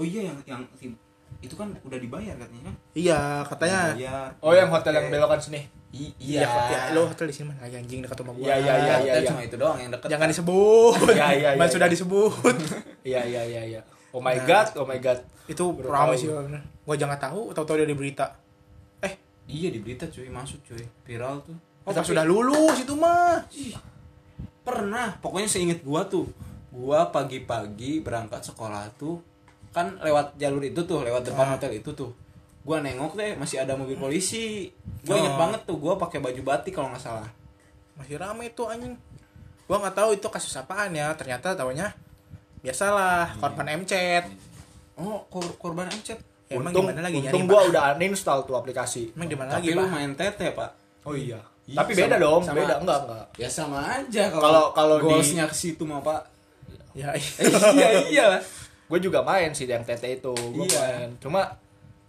S3: Oh iya yang yang si- itu kan udah dibayar katanya kan?
S2: Iya, katanya.
S3: Dibayar.
S4: Oh yang hotel yang
S3: Oke.
S4: belokan sini.
S3: I-
S2: Iya,
S3: iya.
S2: ya, lo hotel di sini mana lagi anjing dekat rumah gua.
S4: Iya, iya, iya,
S3: Hotel
S4: iya.
S3: cuma itu doang yang deket.
S2: Jangan disebut.
S4: Iya,
S2: <laughs>
S4: iya,
S2: Mas
S4: iya,
S2: sudah
S4: iya.
S2: disebut.
S4: Iya iya iya iya. Oh my
S2: Nah.
S4: god, oh my god.
S2: Itu
S4: Baru
S2: rame
S4: tahu.
S2: sih, bener. gua jangan tahu, tahu-tahu dia di berita. Eh,
S3: Iya di berita cuy masuk cuy viral tuh.
S2: oh, pas sudah lulus itu mah.
S3: pernah pokoknya seinget gua tuh gua pagi-pagi berangkat sekolah tuh kan lewat jalur itu tuh lewat depan hotel itu tuh gua nengok deh masih ada mobil polisi gua inget
S2: Oh.
S3: banget tuh gua pakai baju batik kalau nggak salah
S2: Masih rame itu anjing. Gua nggak tahu itu kasus apaan ya. Ternyata taunya biasalah korban mcet
S3: Oh, kor- korban MCet.
S2: Ya, emang
S4: untung
S2: gimana lagi nyari,
S4: untung gua
S2: Pak?
S4: udah uninstall tuh aplikasi
S2: emang di mana lagi
S3: Tapi
S2: pak
S3: lu main TT, Pak.
S4: oh iya
S3: Iya,
S4: tapi
S3: sama-
S4: beda dong
S3: sama-
S4: beda enggak enggak
S3: Ya sama aja
S4: Kalau-
S3: kalau
S4: kalau di-
S3: goalsnya ke situ mah, Pak.
S2: ya
S3: Eh, iya iyalah.
S4: gue juga main sih yang TT itu gue
S3: Iya.
S4: main cuma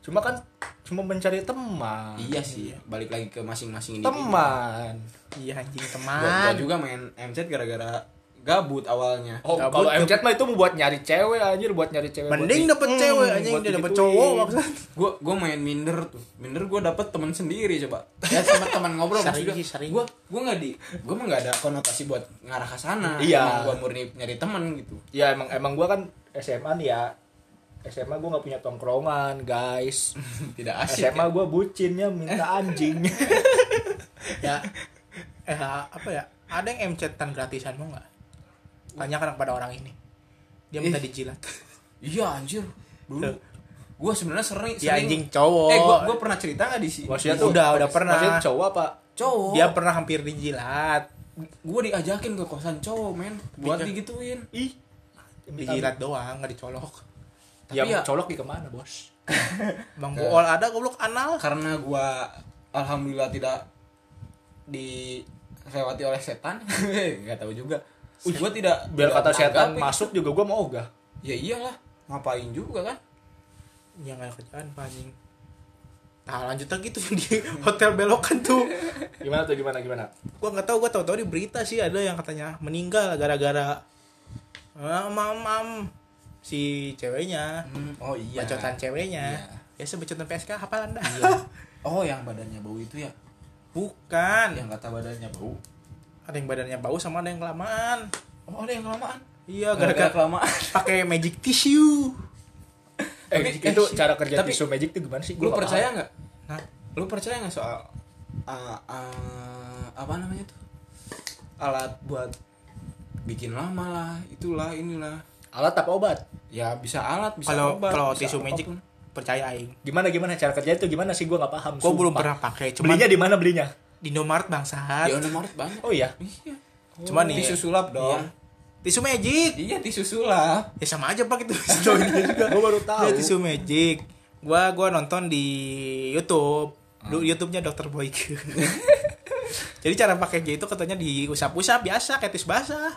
S4: cuma kan cuma mencari teman
S3: Iya sih, balik lagi ke masing-masing ini.
S4: teman
S2: <laughs> iya anjing
S3: Gua, gua
S2: teman
S3: juga main MCet gara-gara gabut awalnya.
S4: oh
S2: Gabut
S4: kalau
S2: tuh.
S4: MChat mah itu buat nyari cewek anjir buat nyari cewek buat
S2: mending
S4: di-
S2: dapet
S4: Hmm,
S2: cewek anjing
S4: buat
S2: dia dapet
S4: digituin.
S2: cowok maksudnya
S3: gue gue main minder tuh minder gue dapet teman sendiri coba ya teman teman ngobrol
S2: Sering
S3: maksudnya <laughs>
S2: sih, sering.
S3: gue gue nggak di gue mah nggak ada konotasi buat ngarah ke sana
S4: Iya.
S3: gue murni nyari teman gitu <laughs>
S4: ya emang emang gue kan SMA nih ya SMA gue nggak punya tongkrongan guys
S3: tidak asik ya.
S4: SMA gue bucinnya minta
S2: <laughs>
S4: anjing
S2: ya eh apa ya ada yang mcetan gratisan mau nggak tanyakan kepada orang ini dia minta dijilat
S3: iya anjir dulu
S2: Tuh.
S3: gue sebenarnya sering
S2: ya
S3: sering-
S2: anjing cowok
S3: eh gue gue pernah cerita nggak di sini
S4: maksudnya
S2: Iya,
S4: tuh
S2: udah, udah pernah.
S4: maksudnya cowok apa
S3: cowok
S2: dia pernah hampir dijilat
S3: gue diajakin ke kosan cowok men buat
S2: Iya.
S3: digituin
S4: ih
S2: dijilat doang nggak dicolok
S4: ya,
S3: Tapi ya-
S4: Iya, colok di kemana bos
S2: bang bool ada goblok anal
S3: karena gue alhamdulillah tidak dilewati oleh setan <laughs> nggak tahu juga gue tidak
S4: biar
S3: tidak
S4: kata setan
S3: menanggapi.
S4: masuk juga gue mau ogah
S3: ya iyalah ngapain juga kan
S2: yang Iya, ada kerjaan Pak, anjing nah lanjut lagi tuh <laughs> di hotel belokan tuh
S4: gimana tuh gimana gimana
S2: gua nggak tahu gua tahu-tahu di berita sih ada yang katanya meninggal gara-gara ah, mam mam si ceweknya
S3: oh iya
S2: bacotan
S3: <laughs>
S2: ceweknya ya
S3: Iya.
S2: sebecotan PSK hafal anda
S3: oh yang badannya bau itu ya
S2: <laughs> bukan
S3: yang kata badannya bau
S2: ada yang badannya bau sama ada yang kelamaan
S3: oh ada yang kelamaan
S2: iya
S3: gara-gara
S2: gara-gara
S3: <laughs> kelamaan
S2: pakai magic tissue
S4: eh,
S3: Tapi-
S4: itu
S3: eh,
S4: cara kerja
S3: tapi-
S4: tisu magic itu gimana sih
S3: lu
S4: Gua nggak
S3: percaya nggak
S2: nah
S3: lu percaya nggak soal uh, uh, apa namanya tuh alat buat bikin lama lah itulah inilah
S4: paham. alat apa obat
S3: ya bisa alat bisa
S2: kalau
S3: obat,
S2: kalau
S3: bisa
S2: tisu magic
S3: apapun.
S2: percaya aing
S4: gimana gimana cara kerja itu gimana sih gue nggak paham
S2: gua belum
S4: sumpah.
S2: pernah pakai cuman
S4: belinya di mana belinya
S2: di Indomaret bangsat
S3: di Indomaret banyak
S4: oh iya
S3: iya
S2: Cuman nih-
S3: tisu sulap dong
S2: tisu magic
S3: iya tisu sulap
S2: ya sama aja pak itu
S4: <laughs>
S2: Joinnya juga
S4: gue baru Iya, tahu
S2: Ya, tisu magic. Gua gua nonton di YouTube.
S4: Hmm.
S2: Lu YouTube-nya Dr. Boyke. <laughs> Jadi cara pakainya itu katanya diusap-usap biasa kayak tisu basah.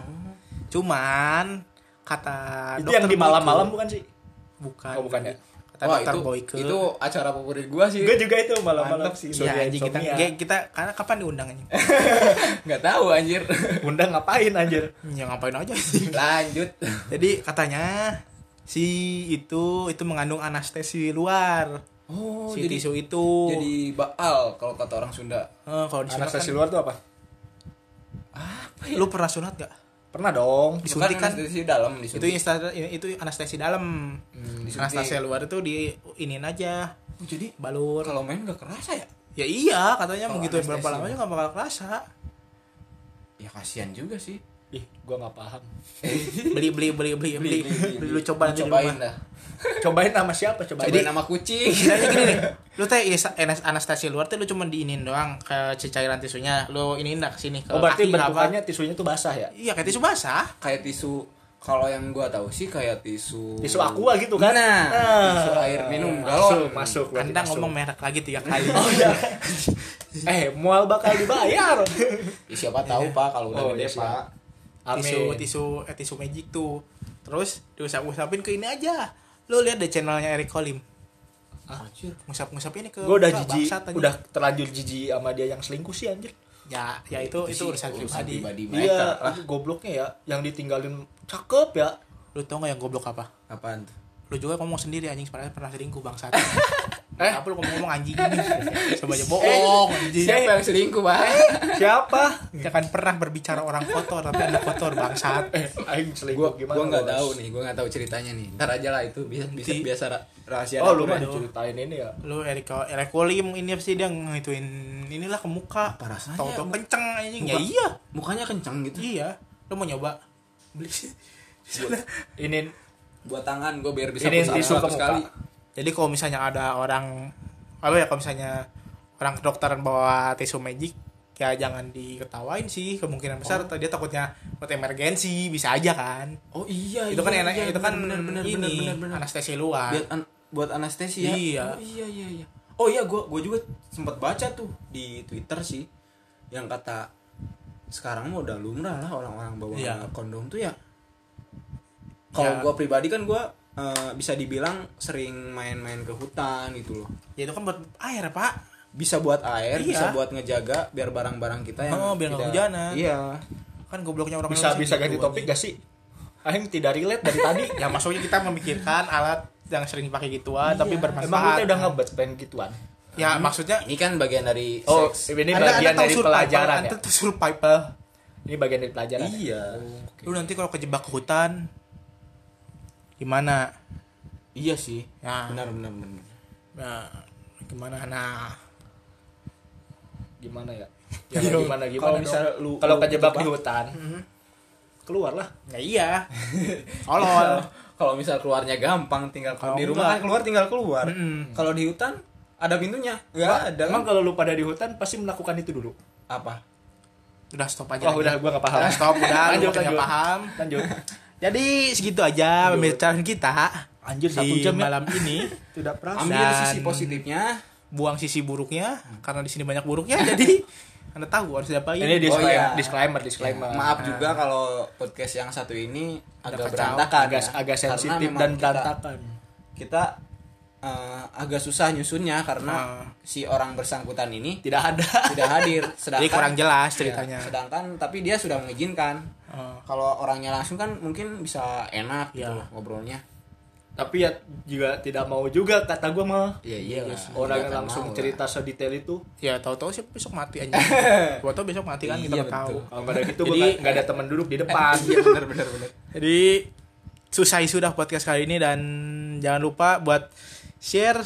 S2: Cuman kata
S4: itu yang
S2: Dr.
S4: di
S2: Boyke-
S4: malam-malam bukan sih
S2: bukan.
S4: Oh, bukan ya?
S2: Kata
S3: Wah,
S2: Dr.
S3: itu,
S2: Boyke.
S3: itu acara favorit gua sih
S4: gue juga itu malam-malam
S3: Mantap sih.
S2: Iya
S4: Insomnia,
S2: anjing kita,
S4: insomnia.
S2: kita kita karena kapan diundangannya?
S3: nggak tahu anjir <laughs>
S4: undang ngapain anjir
S2: ya ngapain aja sih.
S3: lanjut
S2: Jadi katanya si itu itu mengandung anestesi luar.
S3: oh
S2: si
S3: jadi
S2: tisu itu.
S3: jadi baal kalau kata orang Sunda
S2: Eh, kalau di sana
S4: anestesi
S2: kan,
S4: luar tuh apa
S2: lu pernah sunat gak?
S4: pernah dong
S2: Disuntik
S3: ya? Bukan
S2: kan?
S3: anestesi dalam
S2: itu
S3: disuntik Hmm,
S2: insta- itu anestesi dalam
S3: disuntik.
S2: anestesi luar itu di inin aja
S3: Oh, jadi
S2: balur
S3: kalau main nggak kerasa ya
S2: ya iya katanya
S3: Kalau
S2: mau gitu berapa lama
S3: anestesi mah.
S2: nggak bakal
S4: <laughs>
S2: kerasa
S3: ya kasihan juga sih
S4: ih gue nggak paham
S2: beli beli beli beli Ya, beli beli lu coba nanti di
S3: cobain
S2: rumah
S3: dah
S4: cobain sama siapa cobain
S3: cobain nama
S2: <laughs>
S3: kucing
S2: Kayaknya gini nih, lu teh is- anes- anestesi luar teh lu cuma diinin doang ke si cairan tisunya lu iniin dah ke sini ke
S4: oh
S2: kaki,
S4: berarti
S2: apa.
S4: bentukannya tisunya tuh basah ya
S2: iya kayak tisu basah
S3: kayak tisu kalau yang gua tahu sih kayak tisu
S4: Tisu aqua gitu kan?
S3: nah
S4: Ah.
S3: tisu air minum
S4: masuk
S3: galon
S4: masuk berarti
S2: anda
S4: masuk.
S2: ngomong merek lagi
S4: <laughs>
S2: tiga kali
S4: oh iya eh mual bakal
S3: <laughs>
S4: dibayar
S3: Ya, siapa tahu pak kalau udah
S4: Oh,
S3: gede
S4: iya, sih.
S3: pak
S2: tisu tisu eh, tisu magic tuh terus diusap-usapin ke ini aja lu lihat deh channelnya Eric Kolim
S4: Ah.
S3: Anjir.
S2: ngusap-ngusap ini ke
S4: gue udah
S2: ke
S4: jijik
S2: bangsat anjing.
S4: udah terlanjur jijik sama dia yang selingkuh sih anjir
S2: ya ya itu itu,
S3: sih
S2: urusan pribadi
S3: pribadi mereka
S4: iya
S3: lah.
S4: itu gobloknya ya yang ditinggalin cakep ya
S2: lu tau gak yang goblok apa
S3: apaan tuh
S2: lu juga ngomong sendiri anjing sebenarnya pernah selingkuh bangsat eh apa lu ngomong-ngomong <laughs> anjing sama aja bohong anjing
S3: siapa yang selingkuh pak
S4: Eh. siapa <laughs>
S2: jangan pernah berbicara orang kotor tapi anda kotor bangsat
S4: Eh, aing
S3: gua
S4: selingkuh gimana
S3: gua nggak
S4: Bos?
S3: tahu nih gua nggak tahu ceritanya nih ntar aja lah itu bisa bisa
S2: Di-
S3: biasa ra- rahasia
S4: oh
S3: dapur
S4: lu mah
S3: ya.
S4: diceritain ini ya
S2: lu Erika Eric Kolim ini apa sih dia ngituin inilah ke muka
S3: Apa rasanya?
S2: tau-tau kenceng anjing ya
S3: Muka-
S2: iya
S3: mukanya kencang gitu
S2: iya lu mau nyoba beli sih.
S4: ini
S3: buat tangan gue biar bisa
S4: Ini
S3: push up
S4: tisu ke
S3: seratus
S4: muka.
S3: kali
S2: Jadi kalau misalnya ada orang apa ya kalau misalnya orang kedokteran bawa tisu magic ya jangan diketawain sih kemungkinan besar
S4: Oh.
S2: atau dia takutnya buat emergensi bisa aja kan
S3: oh iya
S2: itu kan
S3: iya,
S2: enak
S3: iya,
S2: itu kan
S3: bener, bener,
S2: ini
S3: bener, bener, bener.
S2: anestesi luar
S3: buat an- buat anestesi ya
S2: Kan? Iya.
S3: oh, iya iya iya oh iya gue gua juga sempat baca tuh di twitter sih yang kata sekarang mah udah lumrah lah orang-orang bawa
S2: Iya.
S3: kondom tuh ya kalau
S2: Ya.
S3: gua pribadi kan gua eh, bisa dibilang sering main-main ke hutan gitu loh
S2: ya itu kan buat air pak
S3: bisa buat air
S2: Iya.
S3: bisa buat ngejaga biar barang-barang kita yang
S2: Oh, biar nggak
S3: tidak-
S2: kehujanan.
S3: iya
S2: kan gobloknya orang
S4: bisa
S2: Indonesia
S4: bisa
S2: gitu,
S4: ganti topik
S2: anjing.
S4: gak sih Aing tidak relate dari
S3: <laughs>
S4: tadi
S2: ya maksudnya kita memikirkan alat yang sering pakai gituan tapi bermanfaat
S4: Iya. emang kita udah ngebet pengen gituan
S2: ya maksudnya
S3: ini kan bagian dari
S4: oh
S3: seks.
S4: ini
S2: Anda-
S4: bagian
S2: Anda tahu
S4: dari
S2: survival,
S4: pelajaran ya
S2: Anda tahu survival
S4: ini bagian dari pelajaran ya?
S3: iya
S2: lu nanti kalau kejebak ke hutan gimana
S3: iya sih
S2: Ya.
S3: benar benar benar
S2: nah gimana nah
S4: gimana ya ya
S2: Iya.
S4: gimana gimana
S3: Kalau misalnya
S4: dong?
S3: lu-
S4: kalau
S3: lu
S4: kejebak di
S3: kejebak.
S4: hutan keluarlah
S2: ya
S4: <laughs>
S2: iya <laughs> tolol
S3: kalau misal keluarnya gampang tinggal
S2: Kalau
S3: di rumah
S2: enggak.
S3: kan keluar tinggal keluar
S2: Mm-mm.
S3: kalau di hutan ada pintunya nggak ada
S4: emang kalau lu pada di hutan pasti melakukan itu dulu
S3: apa
S2: udah stop aja
S4: oh
S2: lagi.
S4: udah gua nggak paham
S2: Udah stop udah lu
S4: <laughs> lanjut
S2: makin nggak
S4: lanjut
S2: paham
S4: <laughs> lanjut
S2: jadi segitu aja pembicaraan kita
S4: Anjir, satu
S2: di
S4: jam ya.
S2: malam ini
S4: <laughs> tidak pernah
S3: ambil
S2: Dan-
S3: sisi positifnya
S2: buang sisi buruknya karena di sini banyak
S4: <laughs>
S2: buruknya jadi anda tahu harus diapain
S4: ini
S3: Oh,
S4: disclaimer
S3: iya.
S4: disclaimer disclaimer
S3: maaf juga kalau podcast yang satu ini agak
S2: kacau.
S3: berantakan ya.
S4: agak agak
S3: Karena
S4: sensitif
S3: memang
S4: dan
S3: kita-
S4: berantakan
S3: kita eh, agak susah nyusunnya karena
S2: Ah.
S3: si orang bersangkutan ini
S4: tidak ada
S3: tidak hadir
S2: jadi
S3: sedangkan
S2: kurang
S4: Iya.
S2: jelas ceritanya
S3: Ya, sedangkan tapi dia sudah mengizinkan
S2: Oh.
S3: kalau orangnya langsung kan mungkin bisa enak
S2: Ya.
S3: gitu loh ngobrolnya
S4: <laughs> tapi ya juga tidak mau juga kata gua mah
S3: Iya iya lah.
S4: orang
S3: Iya,
S4: yang
S3: kan
S4: langsung
S3: mau lah.
S4: cerita <laughs> sedetail itu
S2: ya tahu-tahu sih besok mati
S4: <laughs>
S2: aja tahu-tahu besok mati kan kita
S3: Iya,
S2: nggak tahu
S3: betul.
S4: kalau pada gitu
S2: Jadi-
S4: gue nggak ada teman duduk di depan gitu.
S3: Iya benar benar benar.
S2: Jadi susah sudah podcast kali ini dan jangan lupa buat share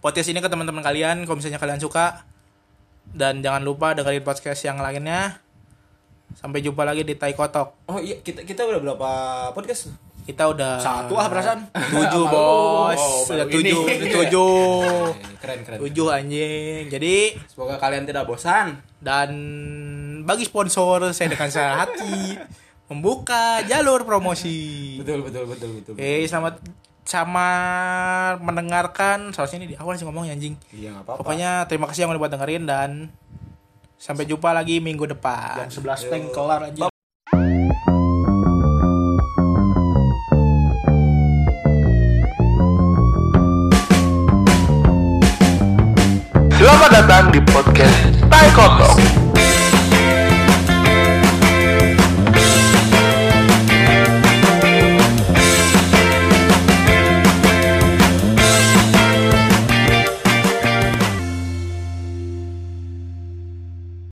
S2: podcast ini ke teman-teman kalian kalau misalnya kalian suka dan jangan lupa dengerin podcast yang lainnya. Sampai jumpa lagi di Tai Kotok.
S3: Oh iya kita kita udah berapa podcast?
S2: Kita udah
S4: satu ah perasaan <laughs>
S2: tujuh
S4: Apa lu?
S2: bos,
S4: Oh,
S2: udah
S4: baru
S2: tujuh,
S4: ini.
S2: udah <laughs> tujuh,
S3: Keren keren.
S2: tujuh anjing. Jadi
S3: Semoga kalian tidak bosan.
S2: dan bagi sponsor saya dengan senang hati membuka jalur promosi.
S3: Betul betul betul betul.
S2: Oke, selamat sama mendengarkan. Seharusnya ini di awal sih ngomong ya, anjing.
S3: Iya nggak apa-apa.
S2: Pokoknya terima kasih yang udah buat dengerin dan sampai jumpa lagi minggu depan.
S4: jam sebelas teng kelar aja
S1: Selamat datang di podcast Tai Kotok.